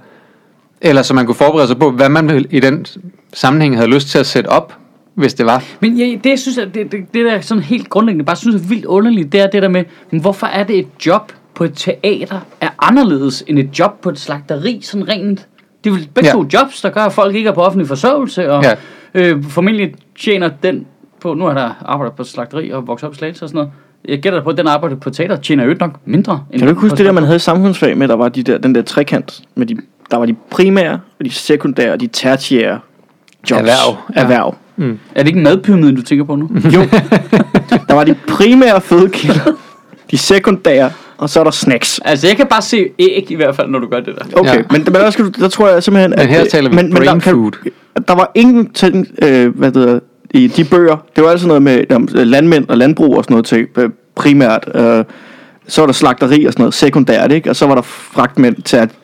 Speaker 4: eller så man kunne forberede sig på, hvad man i den sammenhæng havde lyst til at sætte op, hvis det var.
Speaker 1: Men ja, det, jeg synes, at det, det, det der sådan helt grundlæggende bare synes er vildt underligt, det er det der med, men hvorfor er det et job på et teater er anderledes end et job på et slagteri, sådan rent... Det er vel begge ja.
Speaker 4: Ja.
Speaker 1: to jobs, der gør, at folk ikke er på offentlig forsørgelse, og ja.
Speaker 4: Ja.
Speaker 1: øh, formentlig tjener den på... Nu har der arbejdet på et slagteri og vokset op i Slagelse og sådan noget. Jeg gætter på, at den arbejder på et teater tjener jo ikke nok mindre. End
Speaker 3: Kan du ikke huske
Speaker 1: på
Speaker 3: det der, man
Speaker 1: slagteri?
Speaker 3: havde i samfundsfag med, der var de der, den der trekant, med de, der var de primære, og de sekundære og de tertiære jobs.
Speaker 4: Erhverv, ja.
Speaker 3: Erhverv.
Speaker 1: Er det ikke madpyramiden, du tænker på nu?
Speaker 3: Jo. der var de primære fødekilder, de sekundære, og så er der snacks.
Speaker 1: altså, jeg kan bare se æg i hvert fald, når du gør det der.
Speaker 3: Okay, ja.
Speaker 4: Ja.
Speaker 3: men, men der, skal du, der tror jeg simpelthen,
Speaker 4: Men her
Speaker 3: øh,
Speaker 4: taler vi brain
Speaker 3: der, kan-
Speaker 4: food.
Speaker 3: Der var ingen ting, øh, hvad det hedder, i de bøger. Det var altså noget med jamen, landmænd og landbrug og sådan noget til, øh, primært. Øh, så var der slagteri og sådan noget sekundært, ikke? Og så var der fragtmænd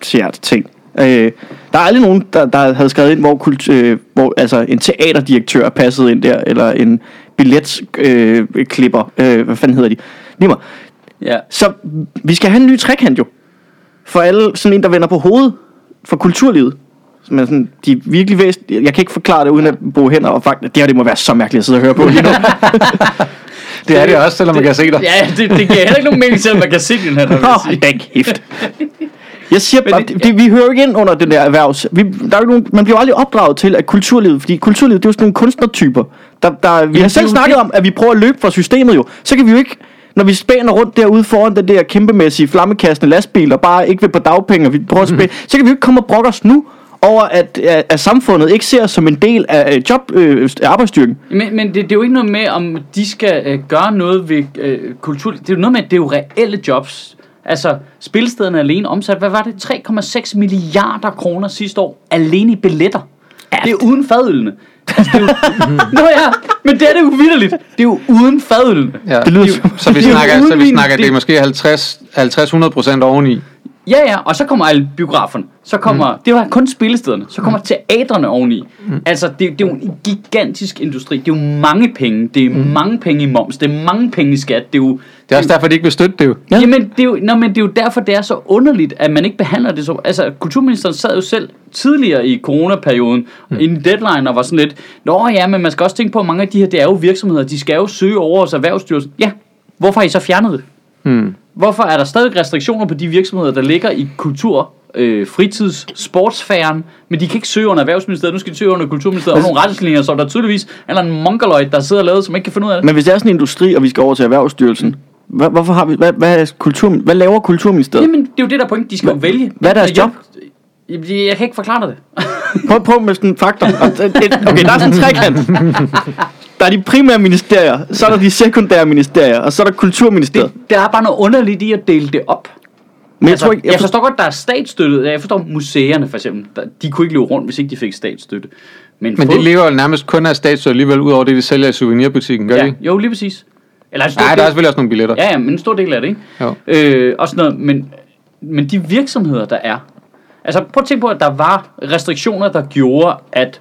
Speaker 3: til at ting. Øh, der er aldrig nogen, der, der havde skrevet ind, hvor, kult, øh, hvor altså, en teaterdirektør passede ind der, eller en billetklipper, øh, klipper, øh, hvad fanden hedder de? Lige meget.
Speaker 1: Ja.
Speaker 3: Så vi skal have en ny trekant jo. For alle, sådan en, der vender på hovedet. For kulturlivet. Som er sådan, de er virkelig væst... Jeg kan ikke forklare det, uden at bruge hænder og fang. Det her, det må være så mærkeligt at sidde og høre på lige nu.
Speaker 4: Det er det også, selvom man kan se dig.
Speaker 1: Ja, det, det giver heller ikke nogen mening til, at man kan se den her, der vil jeg sige.
Speaker 3: Åh, da kæft. Jeg siger
Speaker 1: Men
Speaker 3: bare,
Speaker 1: det-
Speaker 3: det, det, vi hører jo ikke ind under den der erhvervs... Vi, der er jo ikke nogen, man bliver jo aldrig opdraget til, at kulturlivet... Fordi kulturlivet, det er jo sådan nogle kunstnertyper. Der, der, vi har
Speaker 1: det er
Speaker 3: selv
Speaker 1: jo
Speaker 3: snakket
Speaker 1: det.
Speaker 3: om, at vi prøver at løbe fra systemet jo. Så kan vi jo ikke... Når vi spænder rundt derude foran den der kæmpemæssige flammekastende lastbil, og bare ikke vil på dagpenge, og vi prøver at spænde,
Speaker 1: Mhm.
Speaker 3: så kan vi jo ikke komme og brokke os nu over, at, at, at samfundet ikke ser os som en del af øh, job, øh, arbejdsstyrken.
Speaker 1: Men, men det, det er jo ikke noget med, om de skal øh, gøre noget ved øh, kultur. Det er jo noget med, at det er jo reelle jobs. Altså, spilstederne alene omsat, hvad var det? 3,6 milliarder kroner sidste år alene i billetter. Det er uden fadølene. Altså, det er jo... Nå ja, men det er det jo vidderligt. Det er jo uden fadølene.
Speaker 4: Ja.
Speaker 3: Det lyder
Speaker 4: Jo,
Speaker 3: som-
Speaker 4: så vi
Speaker 3: det er
Speaker 4: snakker, så vi
Speaker 1: udvin.
Speaker 4: snakker det er
Speaker 1: Det-
Speaker 4: måske 50 50-100 procent oveni.
Speaker 1: Ja, ja, og så kommer alle biograferne. Så kommer, mm. det var kun spillestederne. Så kommer teatrene oveni. Mm. Altså, det, det er jo en gigantisk industri. Det er jo mange penge. Det er mm. mange penge i moms. Det er mange penge i skat. Det er jo...
Speaker 4: Det er også derfor, de ikke vil støtte det jo.
Speaker 1: Ja. Jamen, det er jo, nå, men det er jo derfor, det er så underligt, at man ikke behandler det så... Altså, kulturministeren sad jo selv tidligere i coronaperioden, mm. inden deadline, og var sådan lidt, Nå ja, men man skal også tænke på, at mange af de her, det er jo virksomheder, de skal jo søge over hos Erhvervsstyrelsen. Ja, hvorfor har I så fjernet det?
Speaker 4: Mm.
Speaker 1: Hvorfor er der stadig restriktioner på de virksomheder, der ligger i kultur, øh, fritids, sportsfæren, men de kan ikke søge under Erhvervsministeriet, nu skal de søge under Kulturministeriet, og nogle retningslinjer, som der tydeligvis er en eller anden mongoloid, der sidder og lavet, som ikke kan finde ud af det.
Speaker 3: Men hvis det er sådan en industri, og vi skal over til Erhvervsstyrelsen, hvad, hvorfor har vi, hvad, hvad, er kultur, hvad laver Kulturministeriet?
Speaker 1: Jamen, det er jo det der point, de skal jo vælge.
Speaker 3: hvad er deres
Speaker 1: Jeg- Jeg, jeg kan ikke forklare dig det.
Speaker 3: Prøv, prøv med sådan en faktor. øh, Okay, der er sådan en trekant. Der er de primære ministerier, så er der de sekundære ministerier, og så er der kulturministeriet.
Speaker 1: Der er bare noget underligt i at dele det op.
Speaker 3: Men jeg
Speaker 1: Altså,
Speaker 3: tror ikke, jeg forstår,
Speaker 1: forstår godt, der er statsstøttet. Jeg forstår museerne for eksempel. Der, de kunne ikke løbe rundt, hvis ikke de fik statsstøtte. Men,
Speaker 4: Men
Speaker 1: fod-
Speaker 4: det lever jo nærmest kun af statsstøtte alligevel, ud over det, de sælger i souvenirbutikken, gør ja. de?
Speaker 1: ja,
Speaker 4: ikke?
Speaker 1: jo, lige præcis. Eller altså, en stor
Speaker 4: Nej,
Speaker 1: del-
Speaker 4: der er selvfølgelig også nogle billetter.
Speaker 1: Ja, ja, men en stor del af det, ikke?
Speaker 4: Jo.
Speaker 1: Øh, og sådan noget, men, men de virksomheder, der er... Altså, prøv at tænke på, at der var restriktioner, der gjorde, at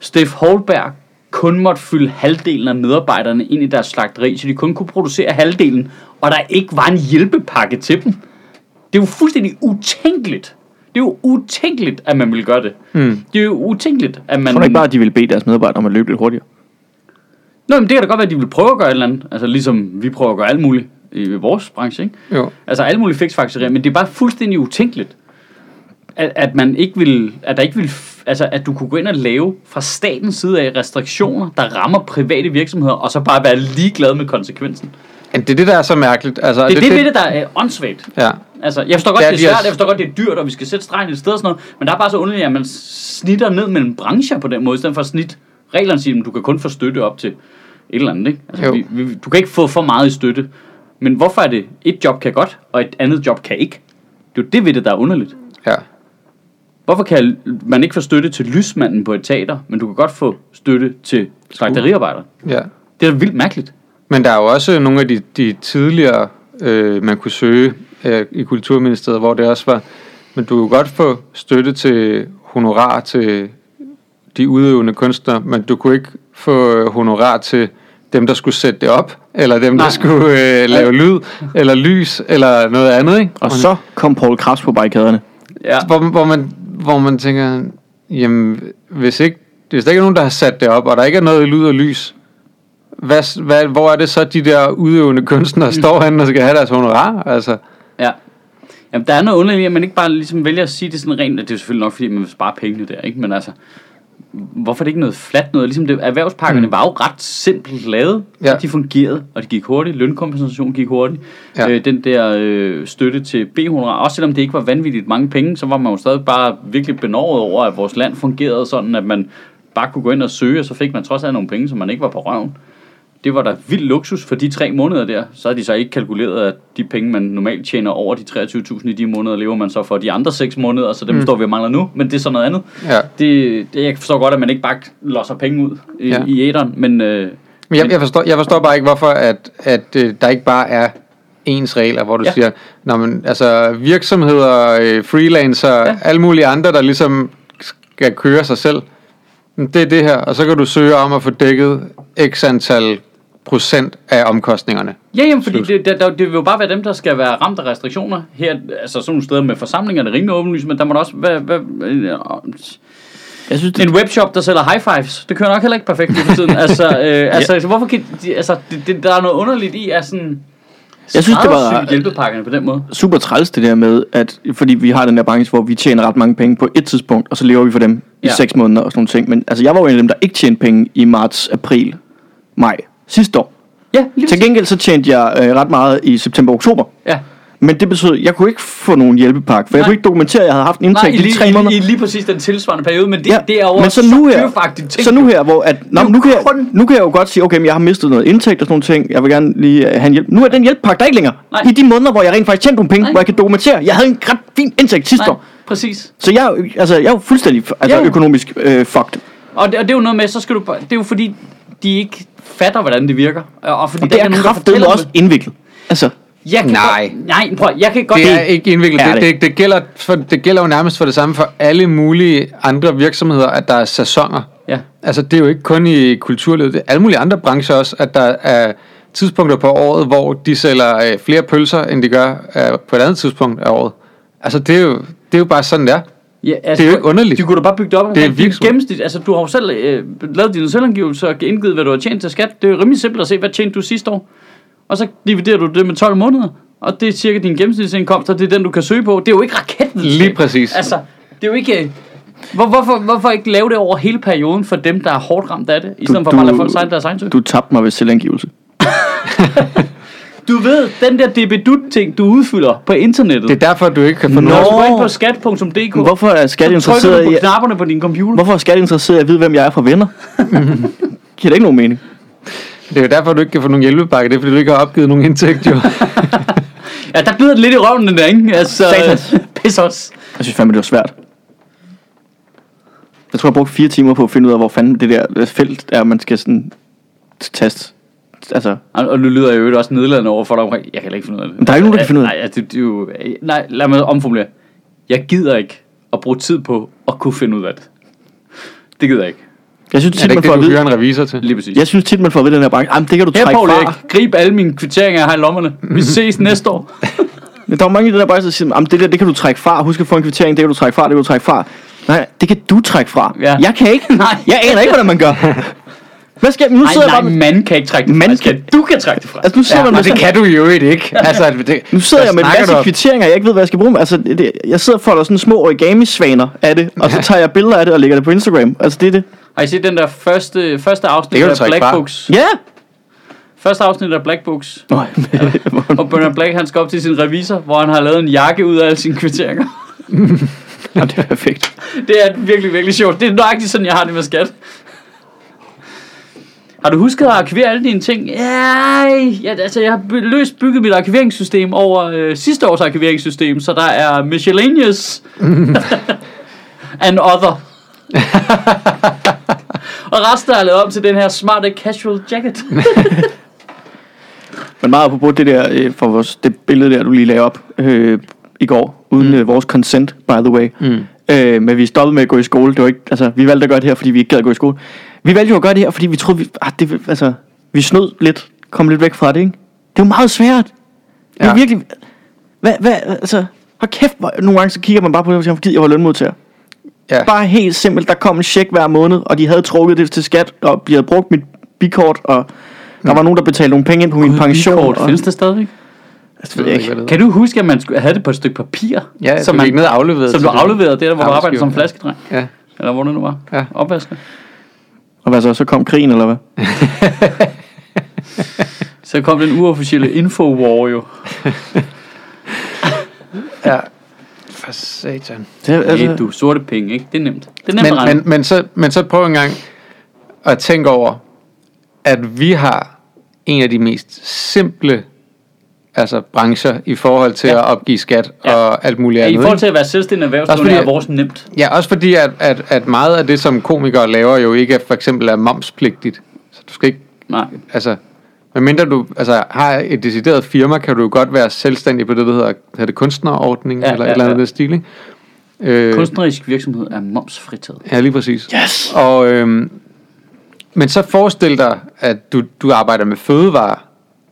Speaker 1: Steff Holberg kun måtte fylde halvdelen af medarbejderne ind i deres slagteri, så de kun kunne producere halvdelen, og der ikke var en hjælpepakke til dem. Det er jo fuldstændig utænkeligt. Det er jo utænkeligt, at man ville gøre det. Mm. Det er jo utænkeligt, at man...
Speaker 3: tror du ikke bare, at de vil bede deres medarbejdere om at løbe lidt hurtigere.
Speaker 1: Nå, men det kan da godt være, at de vil prøve at gøre et eller andet. Altså ligesom vi prøver at gøre alt muligt i vores branche, ikke?
Speaker 3: Mm.
Speaker 4: Jo.
Speaker 1: Altså alle mulige fiksfaktorier, men det er bare fuldstændig utænkeligt, at, at man ikke vil, at der ikke vil, altså at du kunne gå ind og lave fra statens side af restriktioner, der rammer private virksomheder, og så bare være ligeglad med konsekvensen. Det
Speaker 4: Men det er det, der er så mærkeligt. Altså,
Speaker 1: er det, det, det der er øh, åndssvagt.
Speaker 4: Ja.
Speaker 1: Altså, jeg forstår godt,
Speaker 4: Ja,
Speaker 1: det er
Speaker 4: de har-
Speaker 1: svært, jeg forstår godt, det er dyrt, og vi skal sætte stregen et sted og sådan noget, men der er bare så underligt, at man snitter ned mellem brancher på den måde, i stedet for at snit reglerne siger, at du kan kun få støtte op til et eller andet, ikke? Altså,
Speaker 4: Jo.
Speaker 1: vi, vi, du kan ikke få for meget i støtte, men hvorfor er det, et job kan godt, og et andet job kan ikke? Det er jo det ved det, der er underligt.
Speaker 4: ja.
Speaker 1: Hvorfor kan man ikke få støtte til lysmanden på et teater, men du kan godt få støtte til slagteriarbejderen?
Speaker 4: Ja.
Speaker 1: Det er da vildt mærkeligt.
Speaker 4: Men der er jo også nogle af de, de tidligere, øh, man kunne søge øh, i Kulturministeriet, hvor det også var, men du kunne godt få støtte til honorar til de udøvende kunstnere, men du kunne ikke få øh, honorar til dem, der skulle sætte det op, eller dem, Nej. der skulle øh, lave lyd, eller lys, eller noget andet, ikke?
Speaker 3: Og så kom Paul Krabs på barrikaderne.
Speaker 1: Ja.
Speaker 4: hvor, hvor, man, hvor man tænker, jamen, hvis, ikke, hvis der ikke er nogen, der har sat det op, og der ikke er noget lyd og lys, hvad, s- hvad, hvor er det så, de der udøvende kunstnere står henne og skal have deres honorar? Altså,
Speaker 1: Ja. Jamen, der er noget underligt, i, at man ikke bare ligesom vælger at sige det sådan rent, at det er jo selvfølgelig nok, fordi man vil spare pengene der, ikke? Men altså, hvorfor er det ikke noget fladt noget? Ligesom det, erhvervspakkerne mm. var jo ret simpelt lavet,
Speaker 4: Ja.
Speaker 1: ja. de fungerede, og det gik hurtigt, lønkompensation gik hurtigt,
Speaker 4: Ja.
Speaker 1: ja. øh, den der øh, støtte til B-honorar, også selvom det ikke var vanvittigt mange penge, så var man jo stadig bare virkelig benovet over, at vores land fungerede sådan, at man bare kunne gå ind og søge, og så fik man trods alt nogle penge, som man ikke var på røven. Det var da vild luksus for de tre måneder der. Så havde de så ikke kalkuleret, at de penge, man normalt tjener over de 23.000 i de måneder, lever man så for de andre seks måneder, så dem mm. står vi og mangler nu, men det er så noget andet.
Speaker 4: Ja.
Speaker 1: Det, det, jeg forstår godt, at man ikke bare losser penge ud i,
Speaker 4: Ja.
Speaker 1: ja. i æderen, men øh,
Speaker 4: men jeg, jeg, forstår, jeg forstår bare ikke, hvorfor at, at øh, der ikke bare er ens regler, hvor du ja.
Speaker 1: Ja.
Speaker 4: siger, Nå, men, altså virksomheder, øh, freelancer, ja. alle mulige andre, der ligesom skal køre sig selv. Men Det er det her, og så kan du søge om at få dækket x antal procent af omkostningerne.
Speaker 1: Ja, jamen, fordi det, det, det, det vil jo bare være dem, der skal være ramt af restriktioner. Her, altså sådan nogle steder med forsamlinger, det er rimelig åbenlyst, men der må der også være... øh, være
Speaker 3: Jeg synes, det,
Speaker 1: en webshop, der sælger high fives, det kører nok heller ikke perfekt lige for tiden. altså, øh, altså, altså, hvorfor kan de, altså, det, det, der er noget underligt i, at sådan...
Speaker 3: Jeg synes, det var-
Speaker 1: skræddersy hjælpepakkerne på den måde.
Speaker 3: super træls det der med, at fordi vi har den der branche, hvor vi tjener ret mange penge på et tidspunkt, og så lever vi for dem i
Speaker 1: Ja.
Speaker 3: 6 måneder og sådan nogle ting. Men altså, jeg var jo en af dem, der ikke tjente penge i marts, april, maj sidste år.
Speaker 1: Ja, lige
Speaker 3: Til gengæld så tjente jeg øh, ret meget i september og oktober.
Speaker 1: Ja.
Speaker 3: Men det betød, at jeg kunne ikke få nogen hjælpepakke, for jeg
Speaker 1: Nej.
Speaker 3: kunne ikke dokumentere, at jeg havde haft en
Speaker 1: Nej, i,
Speaker 3: indtægt i
Speaker 1: lige,
Speaker 3: tre måneder.
Speaker 1: i, i, lige præcis den tilsvarende periode, men det, ja, det er jo
Speaker 3: men
Speaker 1: også
Speaker 3: så nu her,
Speaker 1: dyrfagtigt ting.
Speaker 3: så nu her, hvor at,
Speaker 1: Det
Speaker 3: nå,
Speaker 1: er
Speaker 3: men nu,
Speaker 1: jo
Speaker 3: kan jeg,
Speaker 1: kun-
Speaker 3: nu kan jeg jo godt sige, okay, men jeg har mistet noget indtægt og sådan nogle ting, jeg vil gerne lige øh, have en hjælp. Nu er den hjælpepakke der ikke længere.
Speaker 1: Nej.
Speaker 3: I de måneder, hvor jeg rent faktisk tjente nogle penge,
Speaker 1: Nej.
Speaker 3: hvor jeg kan dokumentere, jeg havde en ret fin indtægt sidste
Speaker 1: Nej,
Speaker 3: år.
Speaker 1: præcis.
Speaker 3: Så jeg, er jo- altså, jeg er jo fuldstændig altså,
Speaker 1: Ja.
Speaker 3: økonomisk øh, fucked.
Speaker 1: Og det, og det er jo noget med, så skal du... bare- Det er jo fordi, de ikke fatter, hvordan det virker. Og, og fordi
Speaker 3: Og
Speaker 1: der
Speaker 3: det
Speaker 1: ikke
Speaker 3: er
Speaker 1: nogen, der
Speaker 3: kraftedeme
Speaker 1: fortæller dem
Speaker 3: også indviklet. Altså,
Speaker 1: Jeg kan
Speaker 4: Nej.
Speaker 1: Godt, nej, prøv, jeg kan godt...
Speaker 4: Det er ikke indviklet.
Speaker 3: Er
Speaker 4: Det,
Speaker 3: det?
Speaker 4: det, det, gælder for, det gælder jo nærmest for det samme for alle mulige andre virksomheder, at der er sæsoner.
Speaker 1: Ja.
Speaker 4: Altså, det er jo ikke kun i kulturlivet, det er alle mulige andre brancher også, at der er tidspunkter på året, hvor de sælger øh, flere pølser, end de gør øh, på et andet tidspunkt af året. Altså, det er jo, det er jo bare sådan, det er.
Speaker 1: Ja,
Speaker 4: Det
Speaker 1: altså,
Speaker 4: er jo ikke underligt.
Speaker 1: De kunne da bare bygge det op omkring
Speaker 4: Det er
Speaker 1: dit
Speaker 4: virksomhed.
Speaker 1: gennemsnit. Altså, du har jo selv øh, lavet dine selvangivelser og indgivet, hvad du har tjent til skat. Det er jo rimelig simpelt at se, hvad tjente du sidste år. Og så dividerer du det med 12 måneder. Og det er cirka din gennemsnitsindkomst, og det er den, du kan søge på. Det er jo ikke raketten.
Speaker 4: Lige præcis.
Speaker 1: Altså, det er jo ikke... øh, Hvor, hvorfor, hvorfor ikke lave det over hele perioden for dem, der er hårdt ramt af det, i stedet for bare at lade folk sejle deres egen sø?
Speaker 3: du tabte mig ved selvangivelse.
Speaker 1: Du ved, den der debedut-ting, du udfylder på internettet.
Speaker 4: Det er derfor, du ikke kan få
Speaker 1: Når
Speaker 4: noget.
Speaker 1: du går ind på skat.dk,
Speaker 3: Hvorfor er skat
Speaker 1: så trykker
Speaker 3: interesseret
Speaker 1: du
Speaker 3: i,
Speaker 1: på knapperne på din computer.
Speaker 3: hvorfor er skat interesseret i at vide, hvem jeg er fra venner? Giver det ikke nogen mening?
Speaker 4: Det er jo derfor, du ikke kan få nogen hjælpepakke. Det er, fordi du ikke har opgivet nogen indtægt, jo.
Speaker 1: Ja, der glider det lidt i røven, den der, ikke? Altså,
Speaker 3: Satans.
Speaker 1: pis os.
Speaker 3: Jeg synes fandme, det var svært. Jeg tror, jeg brugte fire timer på at finde ud af, hvor fanden det der øh, felt er, man skal sådan teste. Altså,
Speaker 1: Og og nu lyder jeg jo også nedladende over for dig omkring. Jeg kan heller ikke finde ud af det.
Speaker 3: Men der er ikke nogen, der kan
Speaker 1: Ja,
Speaker 3: finde ud af det.
Speaker 1: Nej, ja, det, det er jo, nej, lad mig omformulere. Jeg gider ikke at bruge tid på at kunne finde ud af det. Det gider jeg ikke.
Speaker 3: jeg synes
Speaker 4: Er
Speaker 3: tit,
Speaker 4: det
Speaker 3: man
Speaker 4: ikke
Speaker 3: får
Speaker 4: det,
Speaker 3: at
Speaker 4: du
Speaker 3: vide,
Speaker 4: hyrer en revisor til?
Speaker 1: Lige præcis.
Speaker 3: jeg synes tit, man får at vide i den her branche. Jamen, det kan du
Speaker 1: Her,
Speaker 3: trække
Speaker 1: Paul
Speaker 3: fra.
Speaker 1: Erik, grib alle mine kvitteringer, jeg har i lommerne. Vi ses næste år.
Speaker 3: Men der er jo mange i den her branche, der siger, jamen, det der, det kan du trække fra. Husk at få en kvittering, det kan du trække fra, det kan du trække fra. Nej, det kan du trække fra.
Speaker 1: Ja.
Speaker 3: Jeg kan ikke.
Speaker 1: Nej.
Speaker 3: Jeg aner ikke, hvordan man gør. Hvad skal jeg? Nu sidder jeg
Speaker 1: Nej,
Speaker 3: bare med,
Speaker 1: nej, man kan ikke trække det fra.
Speaker 3: Man
Speaker 1: Skal-
Speaker 3: kan-
Speaker 1: Du kan trække det fra.
Speaker 3: altså, nu sidder
Speaker 4: Ja,
Speaker 3: man med
Speaker 4: og det
Speaker 3: sådan-
Speaker 4: kan du jo ikke. Altså, det,
Speaker 3: Nu sidder
Speaker 4: hvad
Speaker 3: jeg med en
Speaker 4: snakker
Speaker 3: masse
Speaker 4: du om?
Speaker 3: kvitteringer, jeg ikke ved, hvad jeg skal bruge dem. Altså, det, det- jeg sidder og folder sådan små origami-svaner af det, og så tager jeg billeder af det og lægger det på Instagram. Altså, det er det.
Speaker 1: Har I set den der første, første afsnit
Speaker 4: Det kan du
Speaker 1: af
Speaker 4: trække
Speaker 1: Black
Speaker 4: fra.
Speaker 1: Books?
Speaker 3: Ja!
Speaker 1: Første afsnit af Black Books.
Speaker 3: Nå,
Speaker 1: Og Bernard Black, han skal op til sin revisor, hvor han har lavet en jakke ud af alle sine kvitteringer.
Speaker 3: ja, det er perfekt.
Speaker 1: Det er virkelig, virkelig sjovt. Det er nøjagtigt sådan, jeg har det med skat. Har du husket at arkivere alle dine ting? Ja, ja altså jeg har by- løst bygget mit arkiveringssystem over øh, sidste års arkiveringssystem, så der er miscellaneous. and other. og resten er lavet om til den her smarte casual jacket.
Speaker 3: Men meget apropos det der, øh, for vores, det billede der, du lige lagde op øh, i går, uden mm. øh, vores consent, by the way.
Speaker 4: Mm.
Speaker 3: Øh, men vi stoppede med at gå i skole. Det var ikke, altså, vi valgte at gøre det her, fordi vi ikke gad at gå i skole. Vi valgte jo at gøre det her, fordi vi troede, vi, ah, det, altså, vi snød lidt, kom lidt væk fra det, ikke? Det er jo meget svært. Det er
Speaker 4: Ja.
Speaker 3: ja. virkelig... Hvad, hvad, altså, hold kæft, hvor, nogle gange så kigger man bare på det, og siger, fordi jeg var lønmodtager.
Speaker 4: Ja.
Speaker 3: Bare helt simpelt, der kom en check hver måned, og de havde trukket det til skat, og de havde brugt mit bikort, og
Speaker 4: Mm.
Speaker 3: der var nogen, der betalte nogle penge ind på min pension.
Speaker 1: Kort,
Speaker 3: og,
Speaker 1: findes det stadigvæk? Altså,
Speaker 3: det ved jeg ikke.
Speaker 4: hvad det
Speaker 1: Kan du huske, at man skulle have det på et stykke papir?
Speaker 4: Ja, som man ikke ned afleveret.
Speaker 1: som du
Speaker 4: til det.
Speaker 1: afleverede det der, hvor du arbejdede som
Speaker 4: Arbejdsgiveren.
Speaker 1: flaskedreng?
Speaker 4: Ja.
Speaker 1: Eller hvor det nu var?
Speaker 4: Ja.
Speaker 1: Opvasker.
Speaker 3: Og hvad så, så kom krigen, eller hvad?
Speaker 1: Så kom den uofficielle infowar jo.
Speaker 4: Ja. For satan.
Speaker 3: Det, er-
Speaker 1: Altså, hey, du, sorte penge, ikke? Det er nemt. Det er nemt
Speaker 4: Men,
Speaker 1: at regne.
Speaker 4: men, men, så, men så prøv en gang at tænke over, at vi har en af de mest simple altså brancher i forhold til ja. at opgive skat ja.
Speaker 1: Ja.
Speaker 4: og alt muligt
Speaker 1: ja, I
Speaker 4: andet.
Speaker 1: forhold
Speaker 4: ikke?
Speaker 1: til at være selvstændig
Speaker 4: Også
Speaker 1: erhvervsdrivende
Speaker 4: fordi-
Speaker 1: er vores nemt.
Speaker 4: Ja, også fordi, at, at, at meget af det, som komikere laver, jo ikke er, for eksempel er momspligtigt. Så du skal ikke,
Speaker 1: Nej.
Speaker 4: altså, medmindre du altså, har et decideret firma, kan du jo godt være selvstændig på det, der hedder, hedder det kunstnerordning, ja, eller ja, et eller andet ja. stil, ikke? Øh,
Speaker 1: Kunstnerisk virksomhed er momsfritaget.
Speaker 4: Ja, lige præcis.
Speaker 3: Yes!
Speaker 4: Og, øhm, men så forestil dig, at du, du arbejder med fødevarer,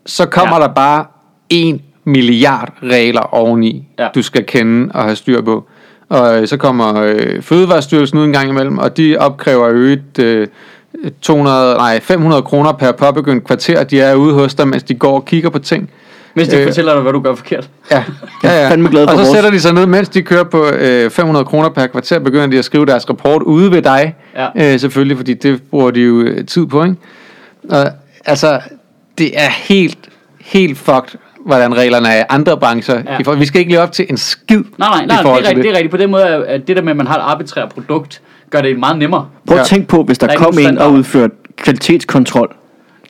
Speaker 4: så kommer
Speaker 1: Ja.
Speaker 4: ja. der bare en milliard regler oveni,
Speaker 1: Ja.
Speaker 4: ja. du skal kende og have styr på. Og øh, så kommer øh, Fødevarestyrelsen ud en gang imellem, og de opkræver jo et, øh, 200, nej, 500 kroner per påbegyndt kvarter, de er ude hos dig, mens de går og kigger på ting.
Speaker 1: Hvis de
Speaker 4: Øh.
Speaker 1: fortæller dig, hvad du gør forkert.
Speaker 4: Ja, ja,
Speaker 3: Jeg er
Speaker 4: ja.
Speaker 3: fandme glad for
Speaker 4: og så
Speaker 3: vores-
Speaker 4: sætter de sig ned, mens de kører på øh, 500 kroner per kvarter, begynder de at skrive deres rapport ude ved dig.
Speaker 1: Ja.
Speaker 4: Øh, selvfølgelig, fordi det bruger de jo øh, tid på, ikke? Og, altså, det er helt, helt fucked, hvordan reglerne er i andre brancher.
Speaker 1: Ja.
Speaker 4: Ja. I for, vi skal ikke leve op til en skid
Speaker 1: Nej, nej, nej,
Speaker 4: i
Speaker 1: det er,
Speaker 4: forhold til
Speaker 1: rigtigt, det. er rigtigt. På den måde, er- at det der med, at man har et arbitrært produkt, gør det meget nemmere.
Speaker 3: Prøv at
Speaker 4: Ja.
Speaker 3: tænke på, hvis der,
Speaker 1: Der er ikke
Speaker 3: kom
Speaker 1: nogen
Speaker 3: en og
Speaker 1: standard.
Speaker 3: udførte kvalitetskontrol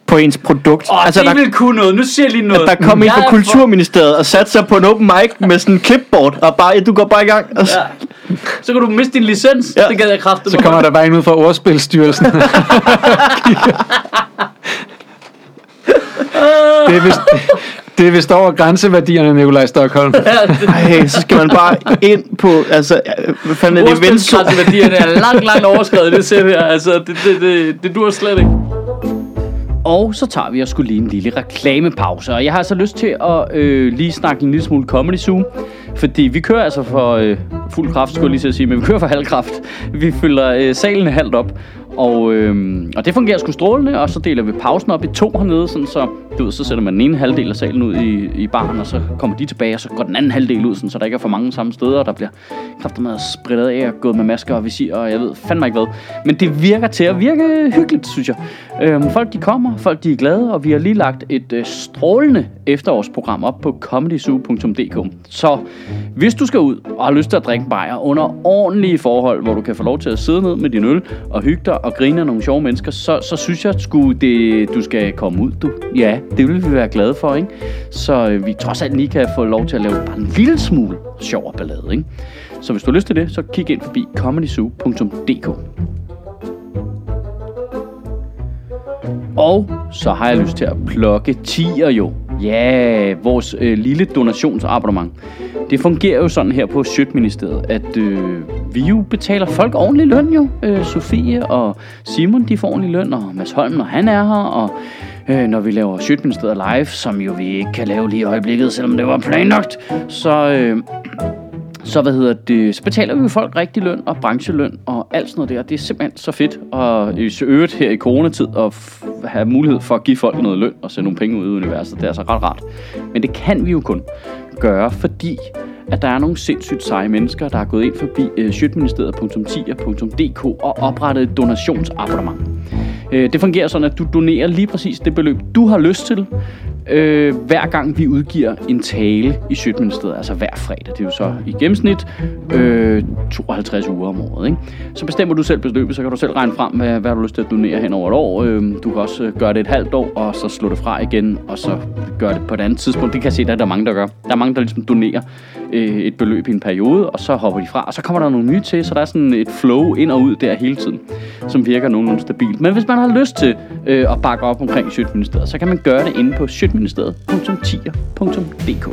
Speaker 3: på ens produkt.
Speaker 1: Åh, altså, det
Speaker 3: der,
Speaker 1: der... vil kunne noget. Nu siger jeg lige noget.
Speaker 3: der kom en
Speaker 1: Jeg
Speaker 3: fra
Speaker 1: er
Speaker 3: Kulturministeriet og satte sig på en open mic med sådan en clipboard, og bare, du går bare i gang. Og,
Speaker 1: For...
Speaker 3: ja.
Speaker 1: Ja. Så kan du miste din licens. Ja.
Speaker 3: Ja.
Speaker 1: Det gad jeg kraftigt.
Speaker 4: Så kommer der bare en ud fra Ordspilstyrelsen. det, er vist, det er vist over grænseværdierne, Nikolaj Stockholm.
Speaker 1: Ja, det...
Speaker 3: Ej, så skal man bare ind på, altså, øh, hvad fanden er det, Vindsor?
Speaker 1: Ordspilskranseværdierne er langt, langt overskrevet, det ser her. Altså, det, det, det, det dur slet ikke. Og så tager vi og skulle lige en lille reklamepause. Og jeg har altså lyst til at øh, lige snakke en lille smule Comedy Zoo. Fordi vi kører altså for øh, fuld kraft, skulle jeg lige til at sige, men vi kører for halv kraft. Vi fylder øh, salen halvt op. Og, øh, og det fungerer sgu strålende, og så deler vi pausen op i to hernede, sådan så, du ved, så sætter man den ene halvdel af salen ud i, i baren, og så kommer de tilbage, og så går den anden halvdel ud, sådan, så der ikke er for mange samme steder, og der bliver kraftedet spredt af og gået med masker og visir, og jeg ved fandme ikke hvad. Men det virker til at virke øh, hyggeligt, synes jeg. Øhm, folk de kommer, folk de er glade, og vi har lige lagt et øh, strålende efterårsprogram op på comedyzoo.dk. Så hvis du skal ud og har lyst til at drikke bajer under ordentlige forhold, hvor du kan få lov til at sidde ned med din øl og hygge dig og grine af nogle sjove mennesker, så, så synes jeg, sgu det, du skal komme ud, du. Ja, det vil vi være glade for, ikke? Så øh, vi trods alt lige kan få lov til at lave bare en lille smule sjov og ballade, ikke? Så hvis du har lyst til det, så kig ind forbi comedyzoo.dk. Og så har jeg lyst til at plukke tier jo. Ja, vores øh, lille donationsabonnement. Det fungerer jo sådan her på Sjøtministeriet, at øh, vi jo betaler folk ordentlig løn jo. Øh, Sofie og Simon, de får ordentlig løn, og Mads Holm, når han er her, og øh, når vi laver Sjøtministeriet live, som jo vi ikke kan lave lige i øjeblikket, selvom det var planlagt, så... Øh, så, hvad hedder det, så betaler vi jo folk rigtig løn og brancheløn og alt sådan noget der. Det er simpelthen så fedt og i øvrigt her i coronatid at f- have mulighed for at give folk noget løn og sende nogle penge ud i universet. Det er altså ret rart. Men det kan vi jo kun gøre, fordi at der er nogle sindssygt seje mennesker, der er gået ind forbi øh, sjøtministeriet.10.dk og oprettet et donationsabonnement. Øh, det fungerer sådan, at du donerer lige præcis det beløb, du har lyst til, øh, hver gang vi udgiver en tale i Sjøtministeriet, altså hver fredag. Det er jo så i gennemsnit øh, 52 uger om året. Ikke? Så bestemmer du selv beløbet, så kan du selv regne frem, hvad, hvad du har lyst til at donere hen over et år. Øh, du kan også øh, gøre det et halvt år, og så slå det fra igen, og så gøre det på et andet tidspunkt. Det kan jeg se, der er der mange, der gør. Der er mange, der ligesom donerer øh, et beløb i en periode, og så hopper de fra, og så kommer der nogle nye til, så der er sådan et flow ind og ud der hele tiden, som virker nogenlunde stabilt. Men hvis man har lyst til øh, at bakke op omkring Sjøtministeriet, så kan man gøre det inde på sjøtministeriet.tier.dk.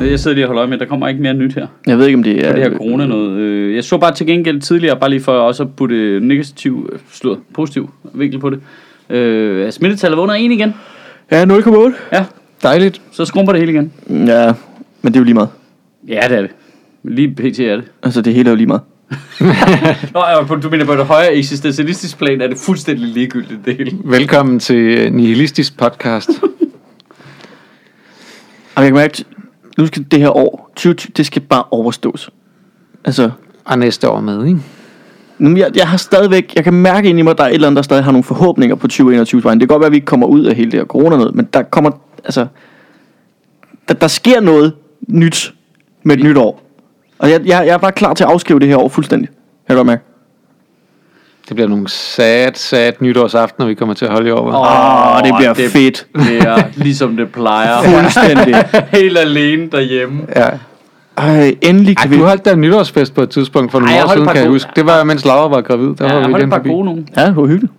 Speaker 1: Jeg sidder lige og holder øje med, der kommer ikke mere nyt her
Speaker 3: Jeg ved ikke, om det er...
Speaker 1: det her corona noget. Øh, Jeg så bare til gengæld tidligere, bare lige for også at putte negativ, øh, slå, positiv vinkel på det. Øh, at smittetallet var under 1 igen.
Speaker 3: Ja, 0,8.
Speaker 1: Ja,
Speaker 4: Dejligt.
Speaker 1: så skrumper det hele igen.
Speaker 3: Ja, men det er jo lige meget.
Speaker 1: Ja, det er det. Lige pt. er det.
Speaker 3: Altså, det hele er jo lige meget.
Speaker 1: Nå, ja, på- du mener på et højere eksistentialistisk plan, er det fuldstændig ligegyldigt det hele.
Speaker 4: Velkommen til øh, Nihilistisk Podcast.
Speaker 3: Jamen, jeg kan mærke, at nu skal det her år, 2020, det skal bare overstås. Altså,
Speaker 4: Og næste år med, ikke?
Speaker 3: nu, jeg, jeg har stadigvæk, jeg kan mærke ind i mig, at der er et eller andet, der stadig har nogle forhåbninger på 2021 vejen. Det kan godt være, at vi ikke kommer ud af hele det her corona noget, men der kommer, altså, der, der sker noget nyt med et nyt år. Og jeg, jeg, jeg er bare klar til at afskrive det her år fuldstændig. Kan jeg godt mærke.
Speaker 4: Det bliver nogle sad, sad nytårsaften, når vi kommer til at holde i år. hva'?
Speaker 3: Åh, det bliver fedt.
Speaker 1: Det er ligesom det plejer.
Speaker 3: Fuldstændig.
Speaker 1: Helt alene derhjemme.
Speaker 4: Ja.
Speaker 3: Ej, endelig
Speaker 4: Ej,
Speaker 3: kan vi...
Speaker 4: du holdt da en nytårsfest på et tidspunkt for nogle
Speaker 1: Ej, jeg
Speaker 4: år
Speaker 1: holdt
Speaker 4: siden,
Speaker 1: et par
Speaker 4: kan jeg
Speaker 1: gode-
Speaker 4: huske. Det var, mens Laura var gravid. Der
Speaker 1: Ja,
Speaker 4: var vi
Speaker 1: jeg holdt
Speaker 4: den
Speaker 1: et par
Speaker 4: forbi.
Speaker 1: gode nogen.
Speaker 3: Ja, det var hyggeligt.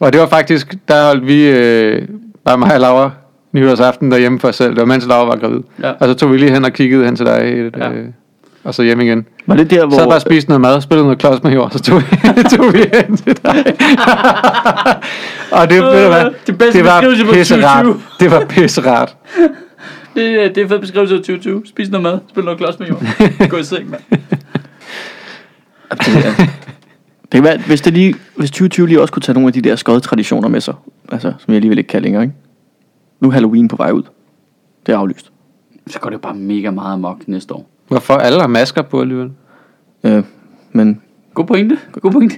Speaker 4: Og det var faktisk, der holdt vi, øh, bare mig og Laura, nytårsaften derhjemme for os selv. Det var mens Laura var gravid.
Speaker 1: Ja.
Speaker 4: Og så tog vi lige hen og kiggede hen til dig, øh,
Speaker 1: Ja.
Speaker 4: ja. og så hjem igen.
Speaker 3: Var det der, hvor...
Speaker 4: Hvor... Så bare og spiste noget mad, spillede noget klods med jord, så tog, tog vi hen til dig. og det, ved du hvad,
Speaker 1: Det bedste
Speaker 4: det var
Speaker 1: beskrivelse på
Speaker 4: pisserart.
Speaker 1: 2020.
Speaker 4: Det var pisserart.
Speaker 1: Det, er- det er fed beskrivelse af 2020. Spis noget mad, spil noget klods med jord. Gå i seng, mand.
Speaker 3: Det kan være, hvis, det lige, hvis 2020 lige også kunne tage nogle af de der skodtraditioner med sig, altså, som jeg alligevel ikke kan længere, ikke? Nu er Halloween på vej ud. Det er aflyst.
Speaker 1: Så går det bare mega meget amok næste år.
Speaker 4: Hvorfor alle har masker på alligevel?
Speaker 3: Øh, men
Speaker 1: God pointe. God pointe.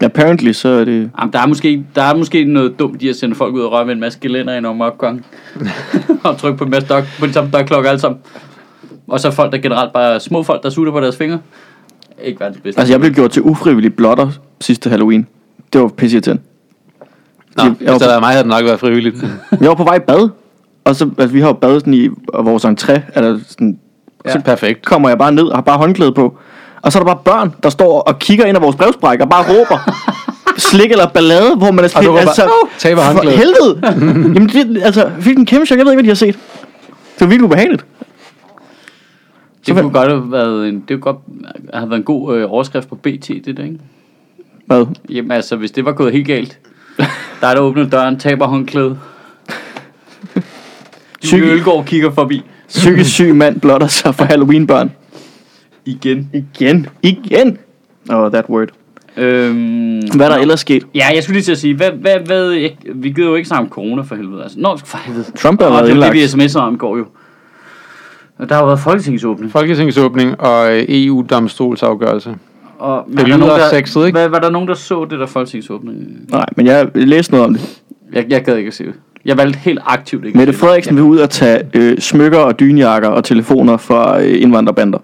Speaker 3: apparently så er det...
Speaker 1: Jamen, der, er måske, der er måske noget dumt i at sende folk ud og røre med en masse gelænder i en omgang. og trykke på en masse dok, på den samme døgklokke alle sammen. Og så folk, der generelt bare er små folk, der sutter på deres fingre. Ikke verdens bedste.
Speaker 3: Altså, jeg blev gjort til ufrivillig blotter sidste Halloween. Det var pisse til.
Speaker 4: Nå,
Speaker 3: Jeg- jeg
Speaker 4: jeg,
Speaker 3: var
Speaker 4: hvis det
Speaker 3: på-
Speaker 4: havde været mig, havde det nok været frivilligt.
Speaker 3: Jeg var på vej i bad, og så, altså, vi har jo badet sådan i og vores entré, er der sådan,
Speaker 1: Ja.
Speaker 3: ja. så
Speaker 4: Perfekt.
Speaker 3: kommer jeg bare ned og har bare håndklæde på. Og så er der bare børn, der står og kigger ind af vores brevsprække og bare råber. slik eller ballade, hvor man er
Speaker 4: Og du
Speaker 3: sådan,
Speaker 4: råber,
Speaker 3: altså,
Speaker 4: "Au, taber håndklædet."
Speaker 3: for helvede. Jamen, det, altså, fik en kæmpe chok, jeg ved ikke, hvad de har set. Det var virkelig ubehageligt.
Speaker 1: det kunne godt have været en, det kunne godt have været en god øh, overskrift på BT, det der, ikke?
Speaker 3: Hvad?
Speaker 1: Jamen altså, hvis det var gået helt galt. Der er der åbner døren, taber håndklæde. Julie
Speaker 3: Psyki-
Speaker 1: Ølgaard kigger forbi.
Speaker 3: Psykisk syg mand blotter sig for Halloween-børn.
Speaker 1: Igen.
Speaker 3: Igen. Igen. Oh, that word.
Speaker 1: Øhm,
Speaker 3: Hvad er der ellers sket?
Speaker 1: Ja, jeg skulle lige til at sige, hvad, hvad, hvad, jeg, vi gider jo ikke snakke om corona for helvede. Altså, nå, for helvede.
Speaker 3: Trump har
Speaker 1: Nå,
Speaker 3: været
Speaker 1: det er jo det,
Speaker 3: indlagt.
Speaker 1: vi sms'er om i går jo. Og der har jo været folketingsåbning.
Speaker 4: Folketingsåbning og øh, EU-domstolsafgørelse.
Speaker 1: Og,
Speaker 4: Det lyder sexet, ikke?
Speaker 1: Hvad, var der nogen, der så det der folketingsåbning?
Speaker 3: Nej, men jeg læste noget om det.
Speaker 1: Jeg, jeg gad ikke at se det. Jeg valgte helt aktivt ikke
Speaker 3: Mette
Speaker 1: at se det.
Speaker 3: Frederiksen vil ud og tage øh, smykker og dynjakker og telefoner fra øh, indvandrerbander.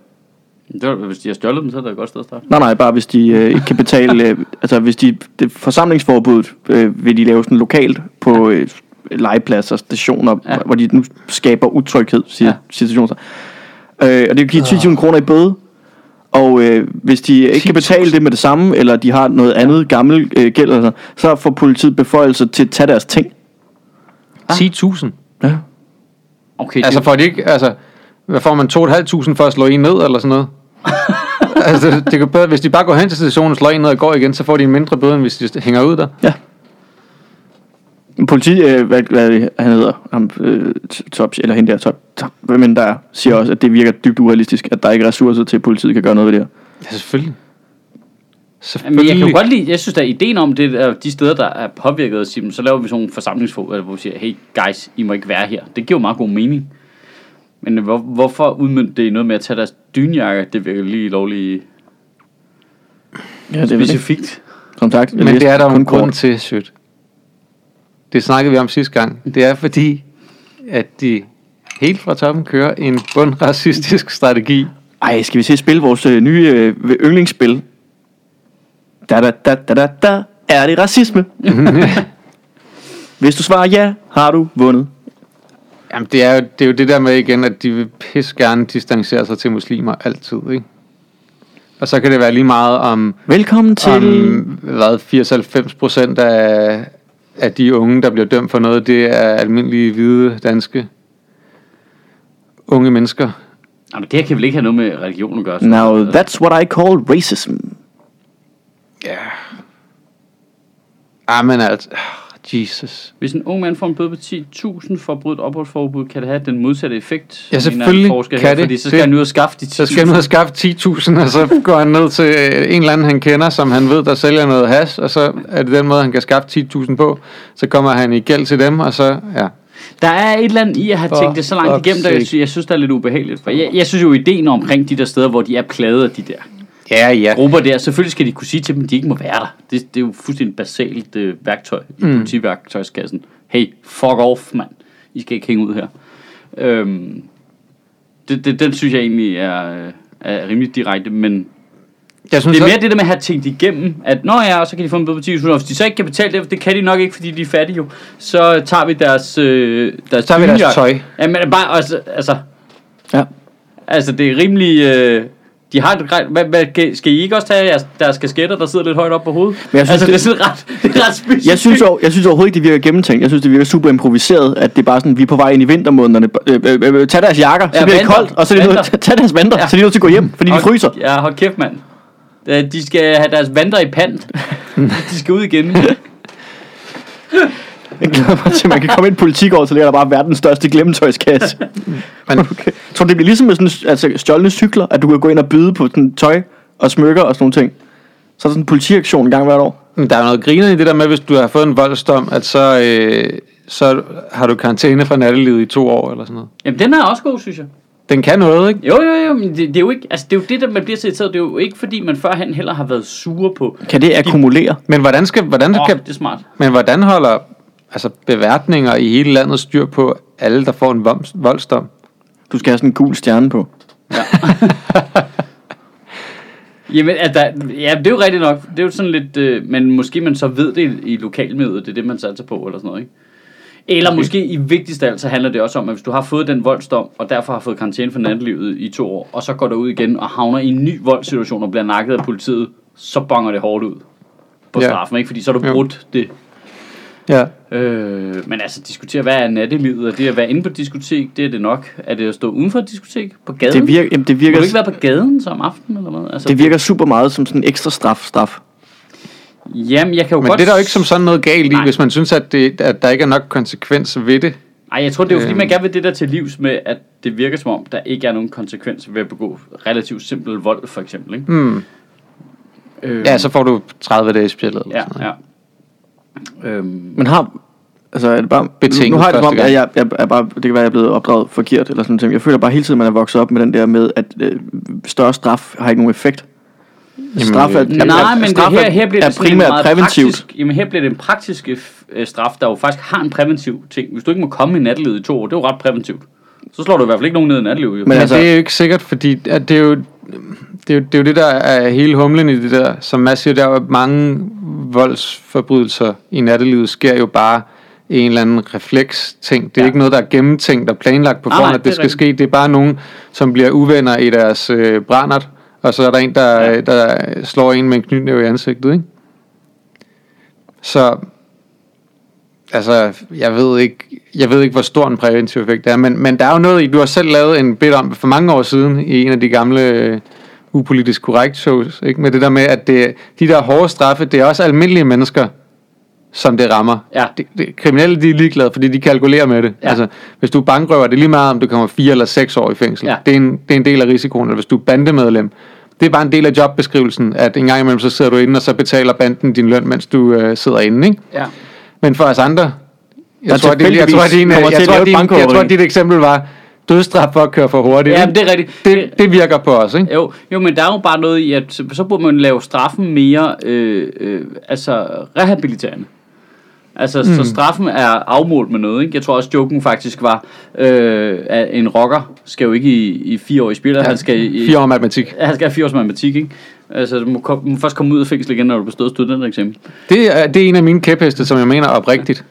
Speaker 1: det var, hvis de har stjålet dem, så er det et godt sted at starte.
Speaker 3: Nej, nej, bare hvis de øh, ikke kan betale... Øh, altså, hvis de... Det, forsamlingsforbuddet øh, vil de lave sådan lokalt på øh, legepladser, stationer,
Speaker 1: Ja.
Speaker 3: ja. hvor de nu skaber utryghed, siger
Speaker 1: Ja.
Speaker 3: ja. situationer. Øh, og det vil give 10.000 kroner i bøde. Og øh, hvis de ikke kan betale det med det samme, eller de har noget andet gammel øh, gæld, eller sådan, så får politiet beføjelse til at tage deres ting.
Speaker 4: 10.000?
Speaker 3: Ja.
Speaker 1: Okay,
Speaker 4: Altså
Speaker 1: altså,
Speaker 4: får de ikke, altså, hvad får man 2.500 for at slå en ned eller sådan noget? altså, det, det kan bedre, hvis de bare går hen til stationen, slår en ned og går igen, så får de en mindre bøde, end hvis de hænger ud der.
Speaker 3: Politi, øh, hvad, hvad er det, han hedder, ham, øh, top, eller hende der, top, top, men der siger også, at det virker dybt urealistisk, at der ikke er ressourcer til, at politiet kan gøre noget ved det her.
Speaker 4: Ja, selvfølgelig.
Speaker 1: det, men
Speaker 4: Selvfølgelig.
Speaker 1: jeg kan jo godt lide, jeg synes da, ideen om det, er de steder, der er påvirket af Simen, så laver vi sådan nogle forsamlingsforbud, hvor vi siger, hey guys, I må ikke være her. Det giver jo meget god mening. Men hvor, hvorfor udmyndte det i noget med at tage deres dynjakker? Det virker lige lovligt
Speaker 3: Ja, det er det.
Speaker 1: specifikt.
Speaker 3: Som sagt, jeg
Speaker 4: Men
Speaker 3: læste
Speaker 4: det er der jo
Speaker 3: kun
Speaker 4: en grund
Speaker 3: kort.
Speaker 4: til, Sødt. Det snakkede vi om sidste gang. Det er fordi, at de helt fra toppen kører en bundracistisk strategi.
Speaker 3: Ej, skal vi se at spille vores øh, nye øh, yndlingsspil? Da da da da da da. Er det racisme?
Speaker 4: Mhm.
Speaker 3: Hvis du svarer ja, har du vundet.
Speaker 4: Jamen, det er, jo, det er jo det der med igen, at de vil pisse gerne distancere sig til muslimer altid, ikke? Og så kan det være lige meget om,
Speaker 3: Velkommen til...
Speaker 4: om hvad, 80-90 procent af, af de unge, der bliver dømt for noget, det er almindelige hvide danske unge mennesker.
Speaker 1: Jamen, det her kan vel ikke have noget med religion at gøre? sådan
Speaker 3: Now
Speaker 1: noget.
Speaker 3: that's what I call racism.
Speaker 4: Ja. Ah, men altså, ah, Jesus.
Speaker 1: Hvis en ung mand får en bøde på 10.000 for at bryde et opholdsforbud, kan det have den modsatte effekt?
Speaker 4: Ja,
Speaker 1: mener
Speaker 4: selvfølgelig
Speaker 1: en forsker
Speaker 4: kan
Speaker 1: her,
Speaker 4: det.
Speaker 1: Fordi så
Speaker 4: Det-
Speaker 1: skal han ud og skaffe de 10.000.
Speaker 4: Så skal han ud og skaffe 10.000, og så går han ned til øh, en eller anden, han kender, som han ved, der sælger noget hash, og så er det den måde, han kan skaffe 10.000 på. Så kommer han i gæld til dem, og så, ja.
Speaker 1: Der er et eller andet i at have
Speaker 4: For
Speaker 1: tænkt det så langt
Speaker 4: fuck's
Speaker 1: igennem, der jeg,
Speaker 4: sake.
Speaker 1: sy- jeg synes, der er lidt ubehageligt. For jeg, jeg synes jo, ideen omkring de der steder, hvor de er plaget af de der
Speaker 4: Ja, ja.
Speaker 1: grupper der, selvfølgelig skal de kunne sige til dem, at de ikke må være der. Det, det er jo fuldstændig basalt øh, værktøj i mm. politiværktøjskassen. Hey, fuck off, mand. I skal ikke hænge ud her. Øhm, det, det, den synes jeg egentlig er, øh, er rimelig direkte, men
Speaker 4: Jeg synes,
Speaker 1: det er mere det der med at have tænkt igennem, at når ja, og så kan de få en bøde på 10.000, og hvis de så ikke kan betale det, for det kan de nok ikke, fordi de er fattige jo, så tager vi deres, øh, deres,
Speaker 4: tager vi deres
Speaker 1: dynejakke.
Speaker 4: tøj.
Speaker 1: Ja, men bare, altså, altså,
Speaker 3: Ja.
Speaker 1: altså det er rimelig, øh, de har et grejt, hvad, hvad, skal I ikke også tage jeres, deres kasketter, der sidder lidt højt op på hovedet?
Speaker 3: Men jeg synes,
Speaker 1: altså, det,
Speaker 3: det-
Speaker 1: er sådan ret, det er ret specifikt.
Speaker 3: Jeg synes, over, jeg synes overhovedet ikke, det virker gennemtænkt. Jeg synes, det virker super improviseret, at det er bare sådan, vi er på vej ind i vintermånederne. Øh, øh, øh, tag deres jakker, så
Speaker 1: Ja,
Speaker 3: bliver det
Speaker 1: vanter.
Speaker 3: koldt, og så er de nødt
Speaker 1: Vanter.
Speaker 3: til tag deres vandre,
Speaker 1: Ja.
Speaker 3: ja. så er de nødt til at gå hjem, fordi de
Speaker 1: Hold-
Speaker 3: fryser.
Speaker 1: Ja, hold kæft, mand. Øh, De skal have deres vandre i pant. de skal ud igen.
Speaker 3: Jeg glæder mig til, at man kan komme ind i politik over, så ligger der bare verdens største glemmetøjskasse.
Speaker 4: Men-
Speaker 3: okay. Tror du, det bliver ligesom med sådan, altså, stjålne cykler, at du kan gå ind og byde på sådan, tøj og smykker og sådan nogle ting? Så er der sådan en politiaktion en gang hvert år.
Speaker 4: Men Der er noget griner i det der med, hvis du har fået en voldsdom, at så, øh, så har du karantæne fra nattelivet i to år eller sådan noget.
Speaker 1: Jamen, den er også god, synes jeg.
Speaker 4: Den kan noget, ikke?
Speaker 1: Jo, jo, jo, men det, det, er jo ikke, altså det er jo det, der man bliver så irriteret. Det er jo ikke, fordi man førhen heller har været sure på.
Speaker 3: Kan det akkumulere?
Speaker 4: Men hvordan, skal, hvordan,
Speaker 1: Åh,
Speaker 4: kan,
Speaker 1: det er smart.
Speaker 4: men hvordan holder altså, beværtninger i hele landet styr på alle, der får en voms- voldsdom?
Speaker 3: Du skal have sådan en gul stjerne på.
Speaker 1: Jamen, at der, ja, det er jo rigtigt nok. Det er jo sådan lidt, øh, men måske man så ved det i, i lokalmiljøet, det er det, man satser på, eller sådan noget, ikke? Eller måske i vigtigst af alt, så handler det også om, at hvis du har fået den voldsdom, og derfor har fået karantæne for nattelivet i to år, og så går du ud igen og havner i en ny voldssituation og bliver nakket af politiet, så bonger det hårdt ud på
Speaker 4: Ja.
Speaker 1: straffen, ikke? Fordi så har du
Speaker 4: Jo.
Speaker 1: brudt det
Speaker 4: Ja.
Speaker 1: Øh, men altså, diskutere, hvad er nattelivet? Er det at være inde på et diskotek? Det er det nok. Er det at stå uden for et diskotek? På gaden?
Speaker 3: Det virker, jamen, det
Speaker 1: Må
Speaker 3: virker,
Speaker 1: du ikke være på gaden så om aftenen eller hvad? Altså,
Speaker 3: det virker super meget som sådan en ekstra straf, straf.
Speaker 1: Jamen, jeg kan jo
Speaker 4: Men
Speaker 1: godt...
Speaker 4: det er der jo ikke som sådan noget galt i,
Speaker 1: Nej.
Speaker 4: hvis man synes, at, det, at der ikke er nok konsekvens ved det.
Speaker 1: Ej, jeg tror, det er jo fordi,
Speaker 4: Øhm.
Speaker 1: man gerne vil det der til livs med, at det virker som om, der ikke er nogen konsekvens ved at begå relativt simpel vold, for eksempel, ikke?
Speaker 4: Mm.
Speaker 1: Øh,
Speaker 4: Ja, så får du 30 dage i spillet. Eller
Speaker 1: Ja,
Speaker 4: sådan noget.
Speaker 1: ja. Øhm,
Speaker 3: Men har... Altså, er det bare...
Speaker 4: Betinget
Speaker 3: nu har jeg det som om,
Speaker 4: første
Speaker 3: at
Speaker 4: gang.
Speaker 3: jeg, jeg, er bare, det kan være, jeg er blevet opdraget forkert eller sådan noget. Jeg føler bare hele tiden, man er vokset op med den der med, at øh, større straf har ikke nogen effekt. Jamen, straf er,
Speaker 4: øh,
Speaker 3: er-
Speaker 1: Nej,
Speaker 3: er-
Speaker 1: men det
Speaker 3: straf
Speaker 1: her, her bliver
Speaker 3: er
Speaker 1: det sådan en
Speaker 3: primært
Speaker 1: meget
Speaker 3: præventivt.
Speaker 1: Praktisk, jamen her bliver det en praktisk øh, f- øh, straf, der jo faktisk har en præventiv ting. Hvis du ikke må komme i nattelivet i to år, det er jo ret præventivt. Så slår du i hvert fald ikke nogen ned i nattelivet. Jo.
Speaker 3: Men
Speaker 4: Men
Speaker 3: altså-
Speaker 4: altså, det er jo ikke sikkert, fordi at det, er jo, det, er jo, det er jo det, der er hele humlen i det der. Som Mads siger, der er jo mange voldsforbrydelser i nattelivet, sker jo bare i en eller anden refleks-ting. Det er
Speaker 1: Ja. Ah,
Speaker 4: ja. ikke noget, der er gennemtænkt og planlagt på
Speaker 1: Nej,
Speaker 4: forhånd,
Speaker 1: nej,
Speaker 4: at
Speaker 1: det er
Speaker 4: det skal
Speaker 1: rigtigt.
Speaker 4: ske. Det er bare nogen, som bliver uvenner i deres øh, brændert, og så er der en, der,
Speaker 1: Ja.
Speaker 4: ja. der slår en med en knytnæve i ansigtet, ikke? Så altså, jeg ved ikke, jeg ved ikke, hvor stor en præventiv effekt det er, men, men der er jo noget i, du har selv lavet en bit om for mange år siden i en af de gamle øh, upolitisk korrekt shows, ikke? med det der med, at det, de der hårde straffe, det er også almindelige mennesker, som det rammer.
Speaker 1: Ja.
Speaker 4: Det, det, kriminelle, de er ligeglade, fordi de kalkulerer med det.
Speaker 1: Ja.
Speaker 4: Altså, hvis du er bankrøver, det er lige meget, om du kommer fire eller seks år i fængsel.
Speaker 1: Ja.
Speaker 4: Det, er en, det er en del af risikoen, eller hvis du er bandemedlem. Det er bare en del af jobbeskrivelsen, at en gang imellem, så sidder du inde, og så betaler banden din løn, mens du øh, sidder inde, ikke?
Speaker 1: ja.
Speaker 4: Men for os andre, jeg
Speaker 3: Der
Speaker 4: tror, det, jeg
Speaker 3: tilfældigvis
Speaker 4: tror, at din,
Speaker 3: kommer
Speaker 4: jeg,
Speaker 3: til at
Speaker 4: jeg, tror,
Speaker 3: lave et
Speaker 4: din, jeg
Speaker 3: bankrøveri.
Speaker 4: tror, at dit eksempel var, dødstraf for at køre for hurtigt.
Speaker 1: Ja,
Speaker 4: ikke?
Speaker 1: det er rigtigt.
Speaker 4: det, det virker på os, ikke?
Speaker 1: Jo, jo, men der er jo bare noget i, at så, så burde man lave straffen mere øh, øh, altså rehabiliterende. Altså, mm. så straffen er afmålt med noget, ikke? Jeg tror også, joken faktisk var, øh, at en rocker skal jo ikke i, i fire år i spil, ja, han skal i,
Speaker 4: Fire år matematik.
Speaker 1: han skal have fire års matematik, ikke? Altså, du må, kom, du må først komme ud af fængsel igen, når du bestået studentereksamen.
Speaker 4: Det er, det er en af mine kæpheste, som jeg mener oprigtigt.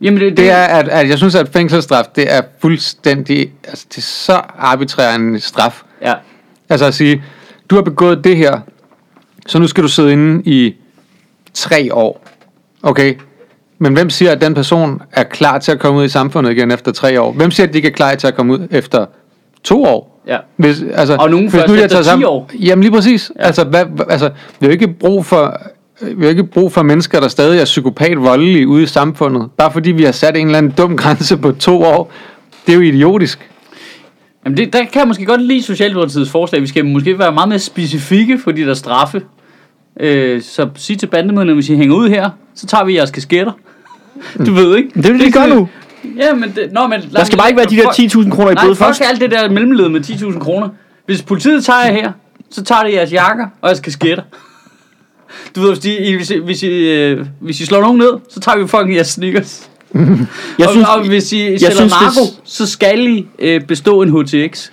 Speaker 1: Jamen, det, det,
Speaker 4: Det er, at, at jeg synes, at fængselsstraf, det er fuldstændig, altså det er så arbitrær en straf.
Speaker 1: Ja,
Speaker 4: Altså at sige, du har begået det her, så nu skal du sidde inde i tre år. Okay? Men hvem siger, at den person er klar til at komme ud i samfundet igen efter tre år? Hvem siger, at de ikke er klar til at komme ud efter to år?
Speaker 1: ja.
Speaker 4: Hvis, altså,
Speaker 1: Og nogen først
Speaker 4: jeg
Speaker 1: efter
Speaker 4: tager
Speaker 1: 10 år.
Speaker 4: Jamen lige præcis. Ja. Altså, hvad, hvad- altså, vi har ikke brug for... Vi har ikke brug for mennesker, der stadig er psykopat voldelige ude i samfundet. Bare fordi vi har sat en eller anden dum grænse på to år. Det er jo idiotisk.
Speaker 1: Jamen, det, der kan jeg måske godt lide Socialdemokratiets forslag. Vi skal måske være meget mere specifikke for de der straffe. Øh, så sig til bandemedlemmerne, hvis I hænger ud her, så tager vi jeres kasketter. Du ved ikke?
Speaker 3: Det er jo det, de gør
Speaker 1: sådan-
Speaker 3: nu.
Speaker 1: Ja, men... Det, nå, men
Speaker 3: Der skal bare ikke være de der 10.000 kroner i
Speaker 1: Nej,
Speaker 3: bøde
Speaker 1: fuck
Speaker 3: først.
Speaker 1: alt det der mellemled med 10.000 kroner. Hvis politiet tager jer her, så tager det jeres jakker og jeres kasketter. Du ved, hvis, de, I- hvis, I, hvis, I, øh, hvis I slår nogen ned, så tager vi fucking jeres sneakers.
Speaker 3: Jeg
Speaker 1: og,
Speaker 3: synes,
Speaker 1: og hvis I sælger
Speaker 3: synes, det-
Speaker 1: narko, så skal I øh, bestå en HTX.
Speaker 3: jeg synes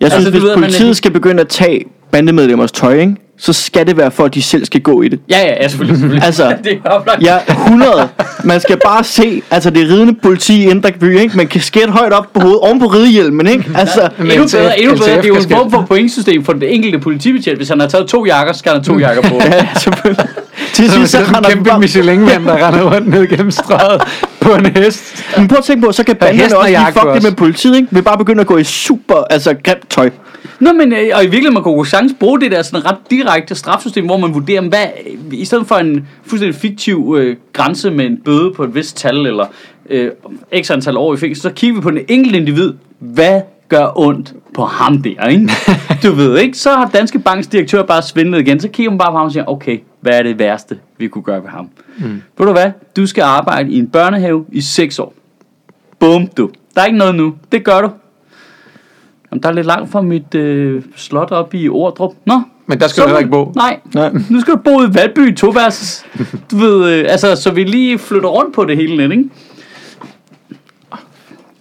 Speaker 1: altså, du
Speaker 3: hvis
Speaker 1: ved, at man er
Speaker 3: politiet
Speaker 1: helt-
Speaker 3: skal begynde at tage bandemedlemmers tøj, ikke? så skal det være for, at de selv skal gå i det.
Speaker 1: Ja, ja, ja selvfølgelig. selvfølgelig.
Speaker 3: Altså,
Speaker 1: det er oplagt.
Speaker 3: Ja, 100. Man skal bare se, altså det er ridende politi i Indre By, ikke? Man kan skætte højt op på hovedet, oven på ridehjelmen, ikke? Altså,
Speaker 1: Endnu
Speaker 4: LTF
Speaker 1: bedre, endnu bedre, det er jo en
Speaker 4: kasket.
Speaker 1: form for pointsystem for den enkelte politibetjent. Hvis han har taget to jakker, så skal han
Speaker 3: Mm.
Speaker 1: have to jakker på.
Speaker 3: ja, selvfølgelig. Til sidst, så
Speaker 4: Så er det sådan en
Speaker 3: render den
Speaker 4: kæmpe
Speaker 3: bare...
Speaker 4: Michelin-mand, der render rundt ned gennem strøget på en hest.
Speaker 3: Men prøv at tænke på, så kan
Speaker 4: hesten
Speaker 3: banderne
Speaker 4: og
Speaker 3: også lige
Speaker 4: jakke
Speaker 3: fuck det
Speaker 4: også.
Speaker 3: med politiet, ikke? Vi bare begynde at gå i super, altså grimt tøj.
Speaker 1: Nå, men øh, og i virkeligheden, man kunne chance bruge det der sådan ret direkte strafsystem, hvor man vurderer, hvad, i stedet for en fuldstændig fiktiv øh, grænse med en bøde på et vist tal, eller øh, x antal år i fængsel, så kigger vi på den enkelte individ, hvad gør ondt på ham der, ikke? Du ved ikke, så har Danske Banks direktør bare svindlet igen, så kigger man bare på ham og siger, okay, hvad er det værste, vi kunne gøre ved ham? Mm. Ved du hvad, du skal arbejde i en børnehave i 6 år. Bum, du. Der er ikke noget nu. Det gør du. Jamen, der er lidt langt fra mit øh, slot op i Ordrup. Nå.
Speaker 4: Men der skal du heller ikke bo.
Speaker 1: Nej.
Speaker 3: Nej.
Speaker 1: Nu skal du bo i Valby i toværelses. Du ved, øh, altså, så vi lige flytter rundt på det hele lidt, ikke?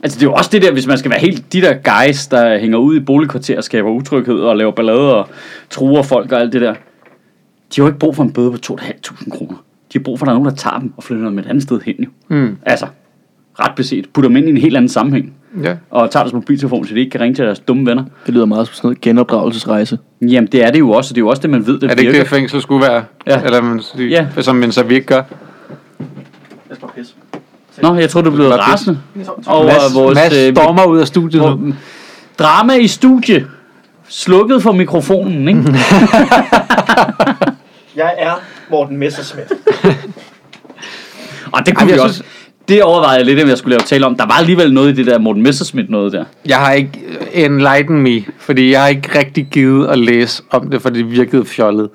Speaker 1: Altså, det er jo også det der, hvis man skal være helt de der guys, der hænger ud i boligkvarter og skaber utryghed og laver ballader og truer folk og alt det der. De har jo ikke brug for en bøde på 2.500 kroner. De har brug for, at der er nogen, der tager dem og flytter dem et andet sted hen, jo.
Speaker 4: Mm.
Speaker 1: Altså, ret beset. Putter dem ind i en helt anden sammenhæng
Speaker 4: Ja.
Speaker 1: og tager deres mobiltelefon, så de ikke kan ringe til deres dumme venner.
Speaker 3: Det lyder meget som sådan noget genopdragelsesrejse.
Speaker 1: Jamen, det er det jo også, og det er jo også det, man ved, det,
Speaker 4: Er det
Speaker 1: virker.
Speaker 4: ikke det, fængsel skulle være?
Speaker 1: Ja.
Speaker 4: Eller man sige,
Speaker 1: Ja.
Speaker 4: ja. som men så vi ikke gør.
Speaker 1: Nå, jeg tror, du er blevet
Speaker 4: Bare pis.
Speaker 1: rasende over
Speaker 4: Mads,
Speaker 1: vores
Speaker 4: Mads
Speaker 1: øh,
Speaker 4: stormer ud af studiet nu.
Speaker 1: hvor- drama i studie. Slukket for mikrofonen, ikke?
Speaker 4: Mhm.
Speaker 3: Jeg er Morten Messersmith.
Speaker 1: Og det kunne
Speaker 4: Ej,
Speaker 1: vi
Speaker 4: jeg
Speaker 1: også. Det overvejede jeg lidt, om jeg skulle lave tale om. Der var alligevel noget i det der Morten Messerschmidt noget der.
Speaker 4: Jeg har ikke øh, enlighten me, fordi jeg har ikke rigtig givet at læse om det, for det virkede fjollet.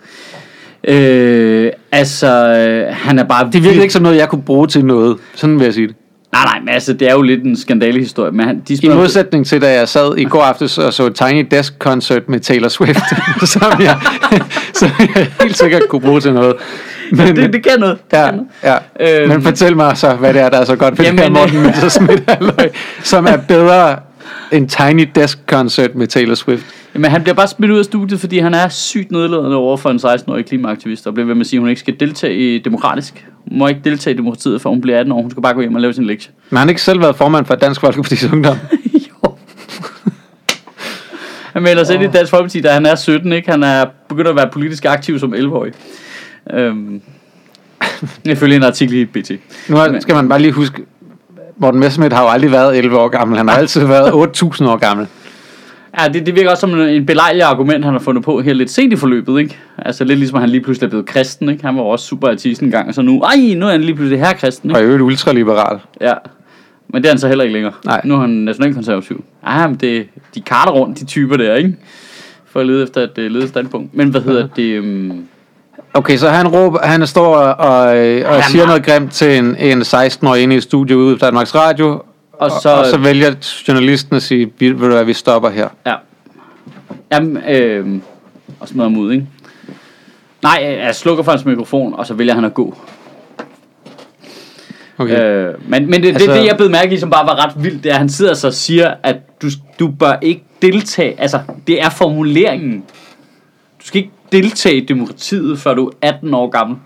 Speaker 1: Øh, altså, øh, han er bare...
Speaker 4: Det virkede ikke som noget, jeg kunne bruge til noget. Sådan vil jeg sige det.
Speaker 1: Nej, nej, men altså, det er jo lidt en skandalehistorie. Men han, de
Speaker 4: I
Speaker 1: smider-
Speaker 4: modsætning til, da jeg sad i går aftes og så Tiny Desk Concert med Taylor Swift, som, jeg, som jeg helt sikkert kunne bruge til noget. Men,
Speaker 1: det, det kan noget. Det
Speaker 4: Ja,
Speaker 1: kan noget.
Speaker 4: ja.
Speaker 1: Øhm.
Speaker 4: Øhm. Men fortæl mig så, hvad det er, der er så godt ved
Speaker 1: Jamen,
Speaker 4: Jamen, det her Morten
Speaker 1: øh.
Speaker 4: Messerschmidt halløj, som er bedre end Tiny Desk Concert med Taylor Swift.
Speaker 1: Jamen, han bliver bare smidt ud af studiet, fordi han er sygt nedladende over for en 16-årig klimaaktivist, og bliver ved med at sige, at hun ikke skal deltage i demokratisk. Hun må ikke deltage i demokratiet, for hun bliver 18 år. Hun skal bare gå hjem og lave sin lektie.
Speaker 4: Men han har ikke selv været formand for Dansk Folkeparti's Ungdom.
Speaker 1: jo. Han melder sig ind i Dansk Folkeparti, da han er 17, ikke? Han er begyndt at være politisk aktiv som 11-årig. Øhm, ifølge en artikel i BT.
Speaker 4: Nu er- skal man bare lige huske, Morten Messerschmidt har jo aldrig været 11 år gammel. Han har altid været 8.000 år gammel.
Speaker 1: Ja, det, det virker også som en, en belejlig argument, han har fundet på her lidt sent i forløbet, ikke? Altså lidt ligesom, at han lige pludselig er blevet kristen, ikke? Han var jo også super artist en gang, og så nu, ej, nu er han lige pludselig her kristen, ikke?
Speaker 4: Og i øvrigt ultraliberal.
Speaker 1: Ja. Men det er han så heller ikke længere.
Speaker 4: Nej.
Speaker 1: Nu er han nationalkonservativ. Ah, men det, de karter rundt, de typer der, ikke? For at lede efter et uh, ledet standpunkt. Men hvad hedder det? Um...
Speaker 4: Okay, så han, råber, han står og, og, og
Speaker 1: er meget-
Speaker 4: siger noget grimt til en, en 16-årig inde i studiet ude på Danmarks Radio,
Speaker 1: Og
Speaker 4: Og,
Speaker 1: så,
Speaker 4: og så vælger journalisten at sige, "Vi- ved du hvad, vi stopper her.
Speaker 1: Ja. Jamen, øh, og smider ham ud, ikke? Nej, øh, jeg slukker for hans mikrofon, og så vælger han at gå.
Speaker 4: Okay.
Speaker 1: Øh, men men det, altså,
Speaker 4: Altså-
Speaker 1: det, det, jeg blev mærke i, som bare var ret vildt, det er, at han sidder så og siger, at du, du bør ikke deltage. Altså, det er formuleringen. Du skal ikke deltage i demokratiet, før du er 18 år gammel.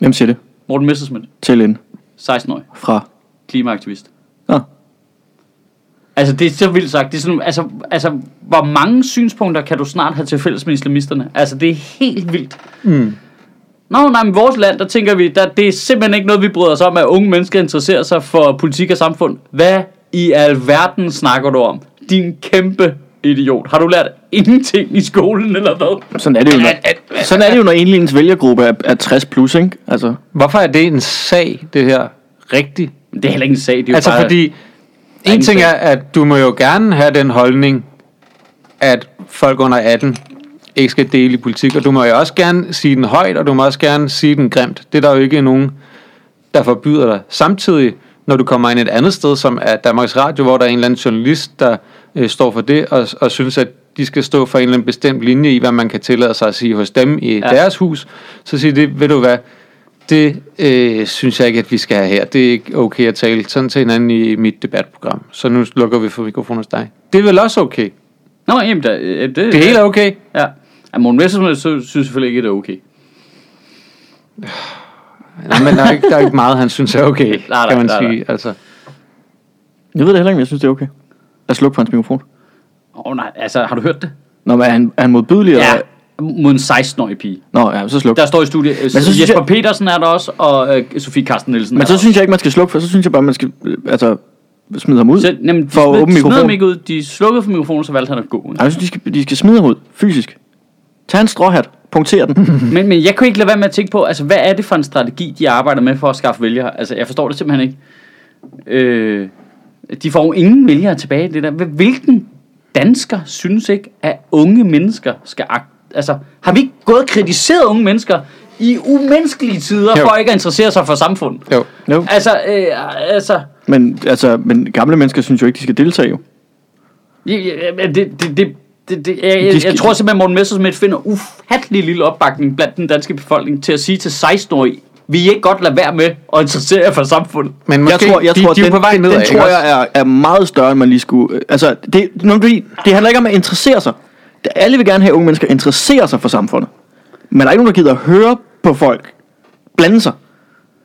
Speaker 3: Hvem siger det?
Speaker 1: Morten Messerschmidt,
Speaker 3: Til en
Speaker 1: 16-årig,
Speaker 3: fra.
Speaker 1: klimaaktivist.
Speaker 3: Nå,
Speaker 1: Altså, det er så vildt sagt. Det er sådan, altså, altså, hvor mange synspunkter kan du snart have til fælles med islamisterne? Altså, det er helt vildt.
Speaker 4: Mm.
Speaker 1: Nå, nej, men vores land, der tænker vi, der, det er simpelthen ikke noget, vi bryder os om, at unge mennesker interesserer sig for politik og samfund. Hvad i alverden snakker du om? Din kæmpe idiot. Har du lært ingenting i skolen, eller hvad?
Speaker 3: sådan er det jo, når, sådan er det jo, når egentlig ens vælgergruppe er, er 60 plus, ikke? Altså,
Speaker 4: Hvorfor er det en sag, det her? Rigtigt.
Speaker 1: Men Det er heller ikke en sag, det er jo
Speaker 4: Altså
Speaker 1: bare...
Speaker 4: fordi, en
Speaker 1: ingen
Speaker 4: ting
Speaker 1: sag.
Speaker 4: er, at du må jo gerne have den holdning, at folk under 18 ikke skal dele i politik, og du må jo også gerne sige den højt, og du må også gerne sige den grimt. Det er der jo ikke nogen, der forbyder dig. Samtidig, når du kommer ind et andet sted, som er Danmarks Radio, hvor der er en eller anden journalist, der øh, står for det, og, og synes, at de skal stå for en eller anden bestemt linje i, hvad man kan tillade sig at sige hos dem i ja. deres hus, så siger det, ved du hvad, det øh, synes jeg ikke, at vi skal have her. Det er ikke okay at tale sådan til hinanden i mit debatprogram. Så nu lukker vi for mikrofonen hos dig. Det er vel også okay.
Speaker 1: Nå, jamen, der, øh, det,
Speaker 4: Det hele er okay.
Speaker 1: Ja. Ja, Morten Messerschmidt så synes selvfølgelig ikke, at det er okay.
Speaker 4: Nej, men der er, ikke, der er ikke meget, han synes er okay,
Speaker 1: nej,
Speaker 4: kan man
Speaker 1: nej, nej.
Speaker 4: sige. Altså,
Speaker 3: jeg ved det heller ikke, men jeg synes, det er okay. At slukke for hans mikrofon.
Speaker 1: Åh oh, nej, altså, har du hørt det?
Speaker 3: Nå, men er han, er han modbydelig?
Speaker 1: Ja.
Speaker 3: eller-
Speaker 1: Mod en 16-årig pige.
Speaker 3: Nå, ja, så sluk.
Speaker 1: Der står i studiet, øh,
Speaker 3: så synes
Speaker 1: Jesper
Speaker 3: jeg-
Speaker 1: Petersen er der også, og øh, Sofie Karsten Nielsen er
Speaker 3: Men
Speaker 1: der
Speaker 3: så synes jeg ikke, man skal slukke for, så synes jeg bare, man skal øh, altså, smide ham ud.
Speaker 1: Så, jamen, de
Speaker 3: for
Speaker 1: smed,
Speaker 3: at åbne
Speaker 1: de smed ham
Speaker 3: mikrofonen.
Speaker 1: ikke ud. De slukkede for mikrofonen, så valgte han at gå.
Speaker 3: Nej, jeg synes, de skal, de skal smide ham ud, fysisk. Tag en stråhat, punkter den.
Speaker 1: Men, men jeg kunne ikke lade være med at tænke på, altså, hvad er det for en strategi, de arbejder med for at skaffe vælgere? Altså, jeg forstår det simpelthen ikke. Øh, de får jo ingen vælgere tilbage. i Det der. Hvilken dansker synes ikke, at unge mennesker skal akt... Altså, har vi ikke gået og kritiseret unge mennesker i umenneskelige tider,
Speaker 4: Jo.
Speaker 1: jo. for ikke at interessere sig for samfundet?
Speaker 4: jo.
Speaker 3: jo.
Speaker 1: Altså, øh, altså...
Speaker 3: Men, altså, men gamle mennesker synes jo ikke, de skal deltage jo.
Speaker 1: Ja, ja, ja, det, det, det, det, det, jeg, jeg,
Speaker 3: De skal-
Speaker 1: jeg tror simpelthen, Morten Messerschmidt finder ufattelig lille opbakning blandt den danske befolkning til at sige til 16-årige, vi ikke godt lade være med at interessere jer for samfundet.
Speaker 4: Men måske,
Speaker 3: jeg tror, jeg
Speaker 4: de,
Speaker 3: tror,
Speaker 4: de, er
Speaker 3: den,
Speaker 4: på vej
Speaker 3: den,
Speaker 4: nedad,
Speaker 3: den
Speaker 4: ikke
Speaker 3: tror
Speaker 4: også?
Speaker 3: jeg er, er meget større, end man lige skulle... øh, Altså, det, når du, det handler ikke om at interessere sig. Det- Alle vil gerne have, at unge mennesker interesserer sig for samfundet. Men der er ikke nogen, der gider at høre på folk blande sig.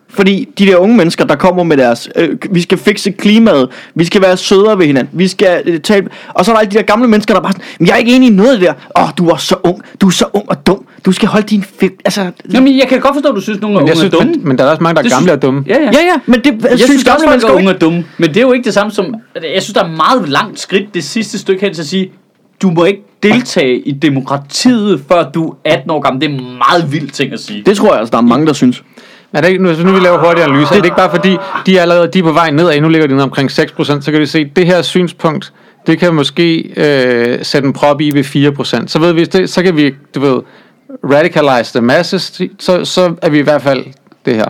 Speaker 3: Fordi de der unge mennesker, der kommer med deres, øh, vi skal fikse klimaet, vi skal være sødere ved hinanden, vi skal øh, tale... Og så er der alle de der gamle mennesker, der bare sådan, "Men jeg er ikke enig i noget af det der. Åh, oh, du er så ung, du er så ung og dum, du skal holde din... Fi-. Altså,
Speaker 1: Jamen, jeg kan godt forstå, at du synes, at nogle af
Speaker 4: Men,
Speaker 1: unge
Speaker 4: jeg
Speaker 1: synes, er
Speaker 4: synes,
Speaker 1: dumme.
Speaker 4: men, men der er også mange, der er
Speaker 1: Det
Speaker 4: gamle
Speaker 1: synes-
Speaker 4: og dumme.
Speaker 1: Ja, ja.
Speaker 3: ja, ja, men det jeg
Speaker 1: Jeg synes,
Speaker 3: synes,
Speaker 1: synes
Speaker 3: gamle
Speaker 1: også,
Speaker 3: mennesker
Speaker 1: at
Speaker 3: jo
Speaker 1: unge
Speaker 3: ikke.
Speaker 1: er dumme, men det er jo ikke det samme som... Jeg synes, der er meget langt skridt det sidste stykke hen til at sige, du må ikke deltage i demokratiet, før du er 18 år gammel. Det er en meget vild ting at sige.
Speaker 3: Det tror jeg altså, der er mange, der synes.
Speaker 4: Er det ikke, nu, hvis nu vi laver hurtige analyser, er det ikke bare fordi, de er allerede de er på vej nedad, nu ligger de ned omkring 6%, så kan vi se, at det her synspunkt, det kan måske øh, sætte en prop i ved 4%. Så ved vi, det, så kan vi, du ved, radicalize the masses, så, så er vi i hvert fald det her.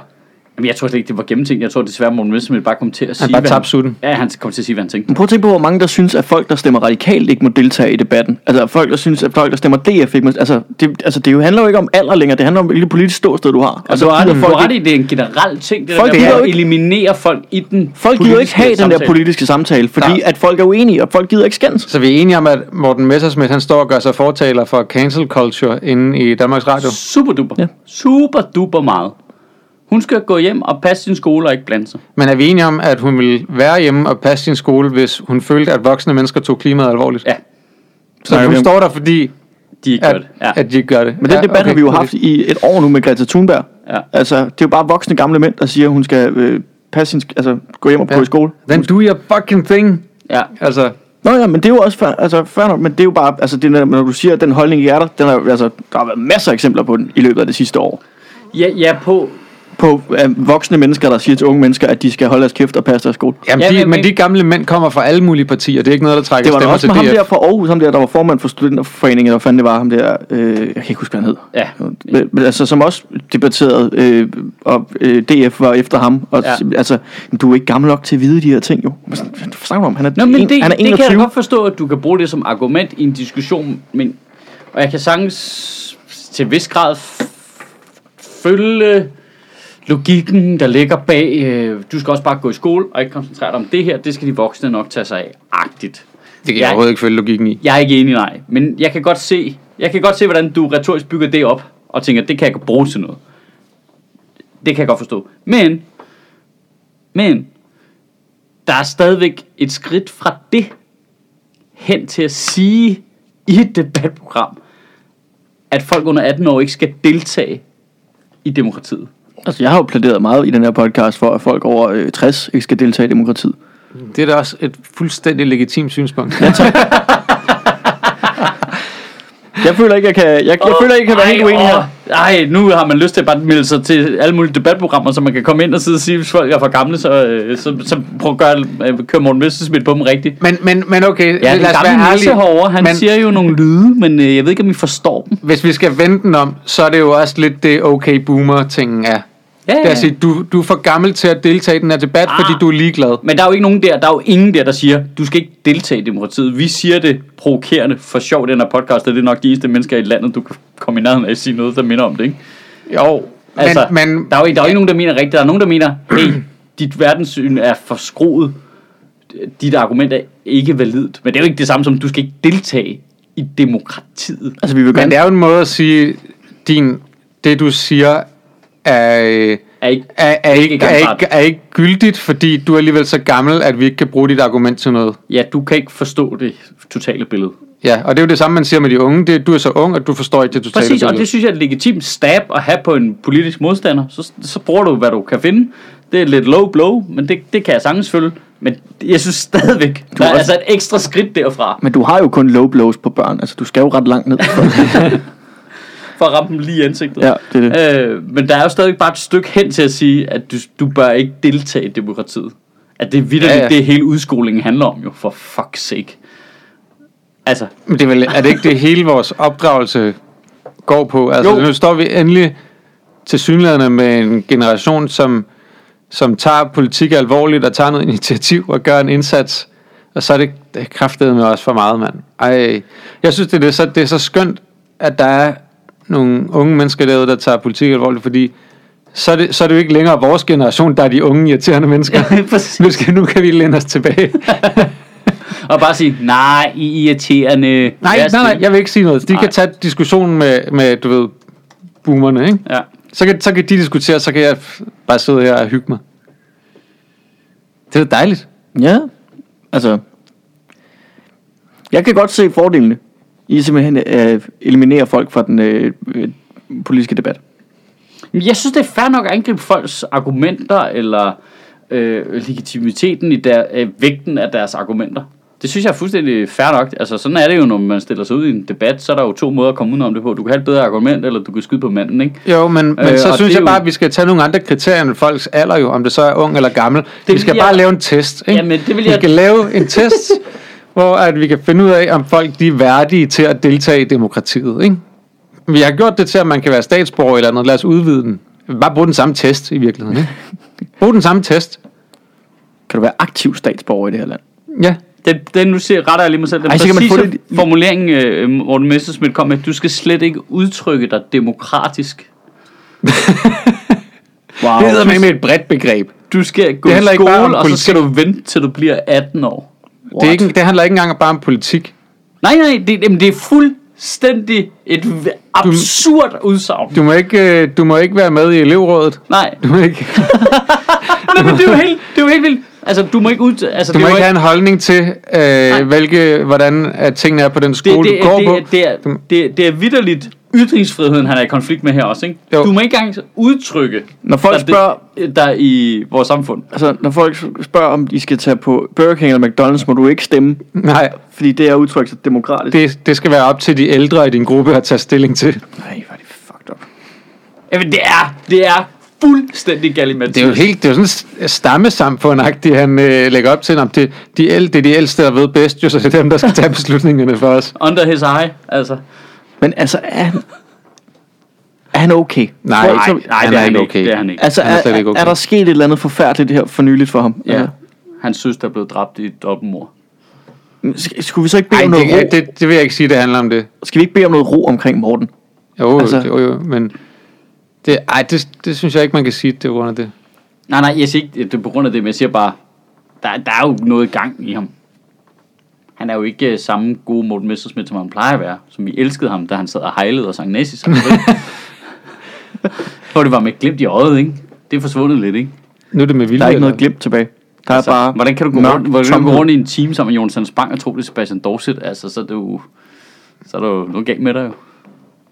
Speaker 1: Jamen, jeg tror slet ikke, det var gennemtænkt. Jeg tror desværre, Morten Messerschmidt bare kom til at sige...
Speaker 4: bare
Speaker 1: hvad
Speaker 4: tabte sutten.
Speaker 1: Ja, han kom til at sige, hvad han tænkte.
Speaker 3: Men Prøv at tænke på, hvor mange der synes, at folk, der stemmer radikalt, ikke må deltage i debatten. Altså folk, der synes, at folk, der stemmer DF, ikke må... Altså det, altså, det jo handler jo ikke om alder længere, det handler om, hvilket politisk ståsted du har.
Speaker 1: Altså,
Speaker 3: Altså,
Speaker 1: du har ret, du har
Speaker 3: gider folk,
Speaker 1: ret
Speaker 3: ikke,
Speaker 1: i, det er en generel ting, det
Speaker 3: Folk
Speaker 1: der med
Speaker 3: gider
Speaker 1: at
Speaker 3: jo ikke-
Speaker 1: eliminere folk i den
Speaker 3: folk gider jo ikke
Speaker 1: politiske
Speaker 3: have den der
Speaker 1: samtale.
Speaker 3: politiske samtale, fordi
Speaker 4: Nej.
Speaker 3: at folk er uenige, og folk gider ikke skændes.
Speaker 4: Så vi er enige om, at Morten Messersmith, han står og gør sig fortaler for cancel culture inde i Danmarks Radio.
Speaker 1: Super duper.
Speaker 3: Altså. Ja.
Speaker 1: Ja. Super duper meget. Hun skal gå hjem og passe sin skole og ikke blande sig.
Speaker 4: Men er vi enige om, at hun ville være hjemme og passe sin skole, hvis hun følte, at voksne mennesker tog klimaet alvorligt?
Speaker 1: Ja,
Speaker 4: så hun
Speaker 3: vi om-
Speaker 4: står der, fordi
Speaker 1: de er ikke
Speaker 4: at,
Speaker 1: gjort. Ja.
Speaker 4: at de ikke gør det.
Speaker 3: Men den
Speaker 4: ja,
Speaker 3: debat
Speaker 4: okay,
Speaker 3: har vi jo
Speaker 4: okay.
Speaker 3: haft i et år nu med Greta Thunberg.
Speaker 1: Ja.
Speaker 3: Altså, det er jo bare voksne gamle mænd, der siger, at hun skal øh, passe sin, sk- altså, gå hjem og gå i skole.
Speaker 4: Then do your fucking thing.
Speaker 1: ja.
Speaker 4: Altså,
Speaker 3: Nå ja, men det er jo også fair, altså, fair nok, men det er jo bare, altså, det, er, når du siger, at den holdning ikke er der, den er, altså, der har været masser af eksempler på den i løbet af det sidste år.
Speaker 1: Ja, ja på,
Speaker 3: på øh, voksne mennesker, der siger til unge mennesker, at de skal holde deres kæft og passe deres skole.
Speaker 4: Jamen,
Speaker 1: Ja,
Speaker 4: ja, de,
Speaker 1: men-
Speaker 4: men, men de gamle mænd kommer fra alle mulige partier. Det er ikke noget, der trækker
Speaker 3: Det var da
Speaker 4: stemmer
Speaker 3: også
Speaker 4: til
Speaker 3: med ham der
Speaker 4: DF.
Speaker 3: fra Aarhus, ham der, der var formand for studenterforeningen, eller hvad fanden det var, ham der, øh, jeg kan ikke huske, hvad han hed.
Speaker 1: Ja.
Speaker 3: Men, men altså, som også debatterede, øh, og øh, DF var efter ham, og
Speaker 1: Ja.
Speaker 3: ja. altså, du er ikke gammel nok til at vide de her ting, jo. Hvad snakker du om? Han er,
Speaker 1: Nå, men
Speaker 3: en,
Speaker 1: det,
Speaker 3: han er
Speaker 1: det kan jeg da
Speaker 3: 21.
Speaker 1: godt forstå, at du kan bruge det som argument i en diskussion, men, og jeg kan sagtens til vis grad f- følge logikken, der ligger bag, øh, du skal også bare gå i skole og ikke koncentrere dig om det her, det skal de voksne nok tage sig af, agtigt.
Speaker 4: Det kan jeg
Speaker 1: jeg-
Speaker 4: overhovedet ikke følge logikken i.
Speaker 1: Jeg er ikke enig, nej, men jeg kan godt se, jeg kan godt se, hvordan du retorisk bygger det op, og tænker, det kan jeg godt bruge til noget. Det kan jeg godt forstå. Men, men, der er stadigvæk et skridt fra det hen til at sige i et debatprogram, at folk under 18 år ikke skal deltage i demokratiet.
Speaker 3: Altså, jeg har jo plæderet meget i den her podcast for, at folk over øh, 60 ikke skal deltage i demokratiet.
Speaker 4: Det er da også et fuldstændig legitimt synspunkt.
Speaker 3: Jeg føler ikke, jeg kan, jeg, jeg føler ikke, jeg kan være helt uenig her.
Speaker 1: Nej, nu har man lyst til at bare melde sig til alle mulige debatprogrammer, så man kan komme ind og sidde og sige, hvis folk er for gamle, så, øh, så, så prøv at gøre, øh, køre Morten Messerschmidt på dem rigtigt.
Speaker 4: Men, men, men okay,
Speaker 1: Ja, den
Speaker 4: lad os
Speaker 1: gamle
Speaker 4: være
Speaker 1: nisse
Speaker 4: ærlige.
Speaker 1: herovre, han
Speaker 4: Men-
Speaker 1: siger jo nogle lyde, men øh, jeg ved ikke, om I forstår dem.
Speaker 4: Hvis vi skal vende den om, så er det jo også lidt det okay boomer-tingen er.
Speaker 1: Ja,
Speaker 4: Det er at sige, du, du er for gammel til at deltage i den her debat,
Speaker 1: Ah.
Speaker 4: fordi du er ligeglad.
Speaker 1: Men der er jo ikke nogen der, der er jo ingen der, der siger, du skal ikke deltage i demokratiet. Vi siger det provokerende for sjov, den her podcast, og det er nok de eneste mennesker i landet, du kan komme i nærheden af at sige noget, der minder om det, ikke?
Speaker 4: Jo,
Speaker 1: Altså,
Speaker 4: men, men
Speaker 1: der er jo, der er jo ikke nogen, der mener rigtigt. Der er nogen, der mener, hey, dit verdenssyn er forskroet. Dit argument er ikke validt. Men det er jo ikke det samme som, du skal ikke deltage i demokratiet.
Speaker 3: Altså, vi vil
Speaker 4: Men
Speaker 3: gerne...
Speaker 4: det er jo en måde at sige, din, det du siger er, øh,
Speaker 1: Er ikke,
Speaker 4: er, er, ikke, er,
Speaker 1: gangbart.
Speaker 4: ikke, er ikke gyldigt, fordi du er alligevel så gammel, at vi ikke kan bruge dit argument til noget.
Speaker 1: ja, du kan ikke forstå det totale billede.
Speaker 4: Ja, og det er jo det samme, man siger med de unge. Det, er, du er så ung, at du forstår ikke det totale
Speaker 1: Præcis, og
Speaker 4: billede.
Speaker 1: det synes jeg er et legitimt stab at have på en politisk modstander. Så, så bruger du, hvad du kan finde. Det er lidt low blow, men det, det kan jeg sagtens følge. Men jeg synes stadigvæk, der er
Speaker 3: også-
Speaker 1: altså et ekstra skridt derfra,
Speaker 3: Men du har jo kun low blows på børn, altså du skal jo ret langt ned.
Speaker 1: for at ramme dem lige i ansigtet.
Speaker 3: ja, det er det.
Speaker 1: Øh, men der er jo stadigvæk bare et stykke hen til at sige, at du, du bør ikke deltage i demokratiet. At det er vidderligt, ja,
Speaker 4: Ja,
Speaker 1: ja.
Speaker 4: ja.
Speaker 1: det hele udskolingen handler om jo, for fuck's sake. Altså,
Speaker 4: Men det er, vel, er det ikke det hele vores opdragelse går på? Altså,
Speaker 1: Jo.
Speaker 4: jo. nu står vi endelig til synlædende med en generation, som, som tager politik alvorligt og tager noget initiativ og gør en indsats. Og så er det, det er kraftedet med os for meget, mand. Ej, jeg synes, det er, så, det er så skønt, at der er nogle unge mennesker derude, der tager politik alvorligt, fordi så er, det, så er det jo ikke længere vores generation, der er de unge, irriterende mennesker.
Speaker 1: præcis.
Speaker 4: nu, skal, nu kan vi læne os tilbage.
Speaker 1: og bare sige, nej, I er irriterende.
Speaker 4: Nej,
Speaker 1: Vær
Speaker 4: nej, nej,
Speaker 1: stille."
Speaker 4: jeg vil ikke sige noget. De
Speaker 1: Nej.
Speaker 4: kan tage diskussionen med, med du ved, boomerne, ikke?
Speaker 1: Ja.
Speaker 4: Så kan, så kan de diskutere, så kan jeg f- bare sidde her og hygge mig. Det er da dejligt.
Speaker 3: Ja, altså... Jeg kan godt se fordelene i simpelthen øh, eliminere folk fra den øh, øh, politiske debat.
Speaker 1: Men Jeg synes, det er fair nok at angribe folks argumenter, eller øh, legitimiteten i der, øh, vægten af deres argumenter. Det synes jeg er fuldstændig fair nok. Altså, sådan er det jo, når man stiller sig ud i en debat, så er der jo to måder at komme udenom det på. Du kan have et bedre argument, eller du kan skyde på manden, ikke?
Speaker 4: Jo, men, men
Speaker 1: Øh,
Speaker 4: øh, så
Speaker 1: og det
Speaker 4: synes
Speaker 1: er
Speaker 4: jeg
Speaker 1: jo-
Speaker 4: bare, at vi skal tage nogle andre kriterier end folks alder jo, om det så er ung eller gammel. Det vi
Speaker 1: vil
Speaker 4: skal
Speaker 1: jeg-
Speaker 4: bare lave en test, ikke?
Speaker 1: Jamen, det vil
Speaker 4: Vi
Speaker 1: jeg-
Speaker 4: skal lave en test, hvor at vi kan finde ud af, om folk de er værdige til at deltage i demokratiet, ikke? Vi har gjort det til, at man kan være statsborger eller noget. Lad os udvide den. Bare brug den samme test i virkeligheden, ikke? Brug den samme test.
Speaker 3: Kan du være aktiv statsborger i det her land?
Speaker 4: Ja.
Speaker 1: Den, den nu ser retter jeg lige mig selv. Den
Speaker 3: Ej, så kan man få
Speaker 1: præcise
Speaker 3: det-
Speaker 1: formulering, øh, Morten Messerschmidt kom med, du skal slet ikke udtrykke dig demokratisk.
Speaker 3: Wow.
Speaker 4: Det hedder med et bredt begreb.
Speaker 1: Du skal gå i
Speaker 4: handler ikke bare om
Speaker 1: skole, og så
Speaker 4: politik.
Speaker 1: skal du vente, til du bliver 18 år.
Speaker 4: Det, er ikke, det handler ikke engang bare om politik.
Speaker 1: Nej, nej, det, jamen, det er fuldstændig et v- absurd udsagn.
Speaker 4: Du må ikke, øh, du må ikke være med i elevrådet.
Speaker 1: Nej,
Speaker 4: Du må ikke,
Speaker 1: nej men det er jo helt, det er jo helt vildt. Altså, du må ikke ud... Altså,
Speaker 4: du
Speaker 1: det
Speaker 4: må
Speaker 1: var
Speaker 4: ikke have en holdning til, øh, hvilke, hvordan at tingene er på den
Speaker 1: det,
Speaker 4: skole,
Speaker 1: det,
Speaker 4: du går på.
Speaker 1: det, det, er, det, er, det, er, det er vidderligt ytringsfriheden, han er i konflikt med her også, ikke?
Speaker 4: Jo.
Speaker 1: Du må ikke engang udtrykke,
Speaker 3: Når folk
Speaker 1: der, spørger... der er i vores samfund.
Speaker 3: Altså, når folk spørger, om de skal tage på Burger King eller McDonald's, må du ikke stemme,
Speaker 4: Nej,
Speaker 3: fordi det er udtrykt så demokratisk.
Speaker 4: det, det skal være op til de ældre i din gruppe at tage stilling til.
Speaker 3: Nej, hvor er det fucked up.
Speaker 1: Jamen, det er, det er fuldstændig galimatias.
Speaker 4: Det er jo helt, det er jo sådan et stammesamfund han øh, lægger op til. Nå, Det, de el, det er de ældste, der ved bedst, jo, så det er dem, der skal tage beslutningerne for os.
Speaker 1: Under his eye, altså.
Speaker 3: Men altså, er han, er han okay?
Speaker 4: Nej,
Speaker 3: Tror I
Speaker 4: nej,
Speaker 3: så-
Speaker 4: nej, han er ikke okay.
Speaker 1: Det er han ikke.
Speaker 3: Altså,
Speaker 4: Han er
Speaker 3: er,
Speaker 4: slet ikke
Speaker 3: er,
Speaker 4: okay.
Speaker 3: er, der sket et eller andet forfærdeligt her for nyligt for ham?
Speaker 1: Ja.
Speaker 3: Altså,
Speaker 1: Hans søster er blevet dræbt i et dobbeltmord.
Speaker 3: sk- skulle vi så ikke bede
Speaker 4: Ej,
Speaker 3: om noget
Speaker 4: det,
Speaker 3: ro?
Speaker 4: det, det, vil jeg ikke sige, det handler om det.
Speaker 3: Skal vi ikke bede om noget ro omkring Morten?
Speaker 4: Jo,
Speaker 3: Altså-
Speaker 4: altså, jo, jo, men... Det, ej, det, det synes jeg ikke, man kan sige, det er på grund af det.
Speaker 1: Nej, nej, jeg siger ikke, det er på grund af det, men jeg siger bare, der, der er jo noget i gang i ham. Han er jo ikke øh, samme gode Morten Messerschmidt, som han plejer at være. Som vi elskede ham, da han sad og hejlede og sang nazi sammen. Hvor det var med et glimt i øjet, ikke? Det er forsvundet lidt, ikke?
Speaker 4: Nu er det med vilje.
Speaker 3: Der er ikke noget
Speaker 4: eller?
Speaker 3: glimt tilbage. Der er
Speaker 1: Altså,
Speaker 3: bare
Speaker 1: hvordan kan du gå
Speaker 3: mørk
Speaker 1: rundt, hvordan kan du
Speaker 3: tomhed.
Speaker 1: gå rundt i en time sammen med Jonas Spang og tro, det er Sebastian Dorset? Altså, så er det jo, så er der jo noget galt med dig jo.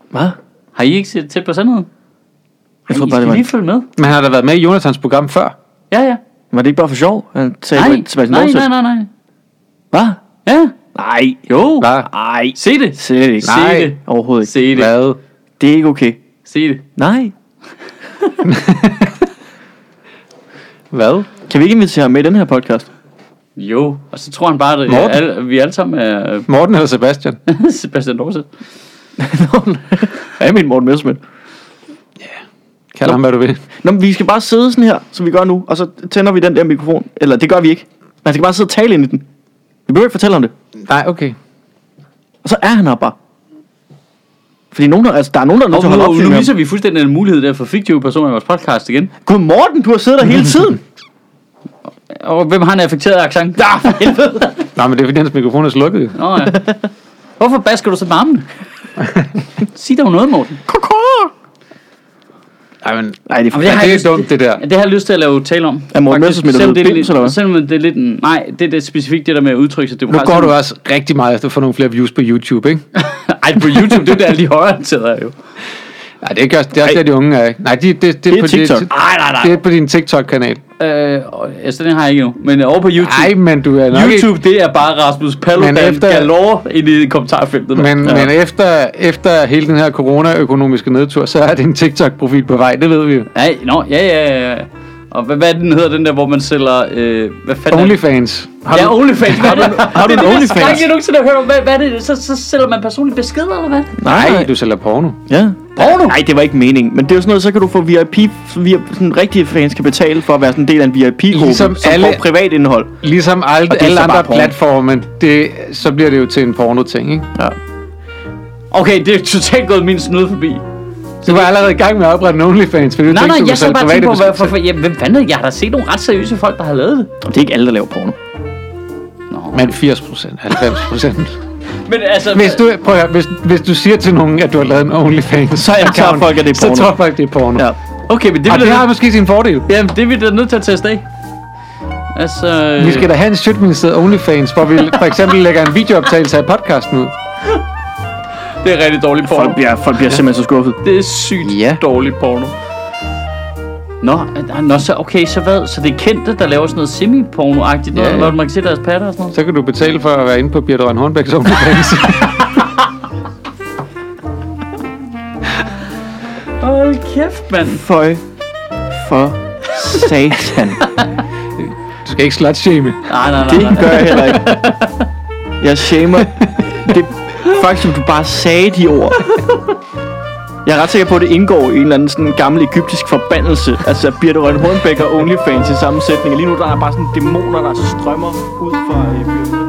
Speaker 3: Hvad?
Speaker 1: Har I ikke set tæt på sandheden?
Speaker 3: Jeg
Speaker 1: Ej,
Speaker 3: troede
Speaker 1: I
Speaker 3: bare, det
Speaker 1: skal
Speaker 3: var...
Speaker 1: lige følge med.
Speaker 4: Men han har da været med i Jonathans program før.
Speaker 1: Ja, ja.
Speaker 3: Var det ikke bare for sjov? Han sagde,
Speaker 1: Nej,
Speaker 3: nej, Sebastian
Speaker 1: nej,
Speaker 3: Dorset.
Speaker 1: nej, nej, nej.
Speaker 3: Hvad?
Speaker 1: Ja.
Speaker 3: Nej,
Speaker 1: Jo.
Speaker 4: Hvad?
Speaker 1: Nej. Se det. Se
Speaker 3: slet ikke.
Speaker 4: Nej.
Speaker 1: det.
Speaker 3: Overhovedet ikke.
Speaker 1: Se det.
Speaker 4: Hvad?
Speaker 3: Det er ikke okay.
Speaker 1: Se det.
Speaker 3: Nej.
Speaker 4: Hvad?
Speaker 3: Kan vi ikke invitere ham med i den her podcast?
Speaker 1: Jo. Og så tror han bare, at
Speaker 4: Morten?
Speaker 1: alle, vi alle sammen er
Speaker 4: Morten eller Sebastian?
Speaker 1: øh, Sebastian Dorset.
Speaker 3: Ja, jeg mener Morten Messerschmidt.
Speaker 4: Kald ham, hvad du vil.
Speaker 3: Nå, men vi skal bare sidde sådan her, som vi gør nu, og så tænder vi den der mikrofon. Eller det gør vi ikke. Man skal bare sidde og tale ind i den. Vi behøver ikke fortælle om det.
Speaker 4: Nej, okay.
Speaker 3: Og så er han her bare. Fordi nogen, der, altså, der er nogen, der er nødt
Speaker 1: Og
Speaker 3: til at holde op
Speaker 1: nu,
Speaker 3: med
Speaker 1: nu
Speaker 3: ham.
Speaker 1: viser vi fuldstændig en mulighed der for fiktive personer i vores podcast igen.
Speaker 3: Gud, Morten, du har siddet der hele tiden.
Speaker 1: Og hvem har en affekteret accent? Ja, for helvede.
Speaker 4: Nej, men det er fordi, hans mikrofon er slukket. jo.
Speaker 1: Nå, ja. Hvorfor basker du så med armene? Sig dog noget, Morten.
Speaker 4: Ej, men,
Speaker 3: Nej, det er for...
Speaker 1: Jamen, det har
Speaker 4: det
Speaker 1: jeg
Speaker 4: er
Speaker 1: lyst-
Speaker 4: dumt, det der.
Speaker 1: Det har jeg lyst til at lave tale om.
Speaker 3: Er Morten
Speaker 1: Faktisk,
Speaker 3: Messerschmidt
Speaker 1: selvom
Speaker 3: blevet
Speaker 1: det er
Speaker 3: bims,
Speaker 1: lidt-
Speaker 3: eller hvad?
Speaker 1: Selvom det er lidt en, nej, det er det specifikt det der med at udtrykke sig
Speaker 4: Nu
Speaker 1: demokratisk.
Speaker 4: går du også rigtig meget efter at få nogle flere views på YouTube, ikke?
Speaker 1: Ej, på YouTube, det er der alle de højreorienterede er jo.
Speaker 4: Nej, det er, ikke, også- det er også der, de unge er. ikke? Nej, de, det, det,
Speaker 3: Det er
Speaker 4: på
Speaker 3: TikTok.
Speaker 4: Dit,
Speaker 1: Nej, nej,
Speaker 4: det
Speaker 1: nej.
Speaker 4: er på din TikTok-kanal.
Speaker 1: Øh, og- altså, den har jeg ikke endnu. Men øh, over på YouTube.
Speaker 4: Nej, men du er nok ikke...
Speaker 1: YouTube, det er bare Rasmus Paludan
Speaker 4: Men efter-
Speaker 1: efter... galore ind i kommentarfeltet. mand.
Speaker 4: Men, ja. men efter, efter hele den her corona-økonomiske nedtur, så er din TikTok-profil på vej, det ved vi jo.
Speaker 1: Nej, nå, ja, ja, ja. Og hvad, hvad er den hedder, den der, hvor man sælger... Øh, hvad fanden er det?
Speaker 4: Onlyfans. Har
Speaker 1: Ja,
Speaker 4: du,
Speaker 1: OnlyFans. Har du, har
Speaker 3: du en OnlyFans?
Speaker 1: Det er det, jeg nogensinde har hørt om. Hvad, hvad er det? Så, så sælger man personlige beskeder, eller hvad?
Speaker 4: nej, du sælger porno.
Speaker 3: Ja. Porno? Nej, det var ikke meningen. Men det er jo sådan noget, så kan du få VIP, via, sådan rigtige fans kan betale for at være sådan en del af en VIP-gruppe,
Speaker 4: Ligesom
Speaker 3: ligesom som alle...
Speaker 4: alle-
Speaker 3: får privat indhold.
Speaker 4: Ligesom alle,
Speaker 3: Og det er
Speaker 4: alle
Speaker 3: så bare
Speaker 4: andre
Speaker 3: porno.
Speaker 4: platforme, det, så bliver det jo til en porno-ting, ikke?
Speaker 1: Okay, det er totalt gået min snude forbi.
Speaker 4: Du var allerede i gang med at oprette en OnlyFans, fordi du
Speaker 1: Nej, nej,
Speaker 4: tænkte, du
Speaker 1: jeg
Speaker 4: kunne
Speaker 1: så bare
Speaker 4: sælge
Speaker 1: tænke på,
Speaker 4: private
Speaker 1: hvad, for, for, ja, hvem fanden er- Jeg har da set nogle ret seriøse folk, der har lavet det.
Speaker 3: Og det er ikke alle, der laver porno.
Speaker 4: Men 80 procent, 90 procent.
Speaker 1: Men altså...
Speaker 4: hvis, du, prøv at høre, hvis, hvis du siger til nogen, at du har lavet en OnlyFans, så,
Speaker 3: jeg klar folk, at det er porno.
Speaker 4: Så tror folk, det er porno.
Speaker 3: Ja.
Speaker 4: Ja.
Speaker 1: Okay, men det,
Speaker 4: Og
Speaker 1: bliver,
Speaker 4: det har
Speaker 1: det,
Speaker 4: måske sin fordel.
Speaker 1: jamen, det er vi da nødt til at teste af. Altså...
Speaker 4: Vi skal da have en shitministeriet OnlyFans, hvor vi for eksempel lægger en videooptagelse af podcasten ud.
Speaker 1: øh, Det er rigtig dårlig porno.
Speaker 3: Folk bliver, folk bliver simpelthen så skuffet.
Speaker 1: Det er sygt
Speaker 4: Ja.
Speaker 1: dårlig porno. Nå, øh, nå, så okay, så hvad? Så det er kendte, der laver sådan noget semi-porno-agtigt, noget,
Speaker 4: ja.
Speaker 1: hvor man kan se deres patter og sådan noget?
Speaker 4: Så kan du betale for at være inde på Birte Røn Hornbæks OnlyFans.
Speaker 1: Hold kæft, mand.
Speaker 3: Føj. For satan.
Speaker 4: du skal ikke slutshame.
Speaker 1: Nej, nej, nej,
Speaker 3: Det
Speaker 1: nej.
Speaker 3: gør jeg heller ikke. Jeg shamer. Det faktisk, du bare sagde de ord. Jeg er ret sikker på, at det indgår i en eller anden sådan gammel egyptisk forbandelse. Altså Birte Rønne Hornbæk og OnlyFans i samme sætning. Lige nu der er bare sådan dæmoner, der strømmer ud fra øh, Birthe.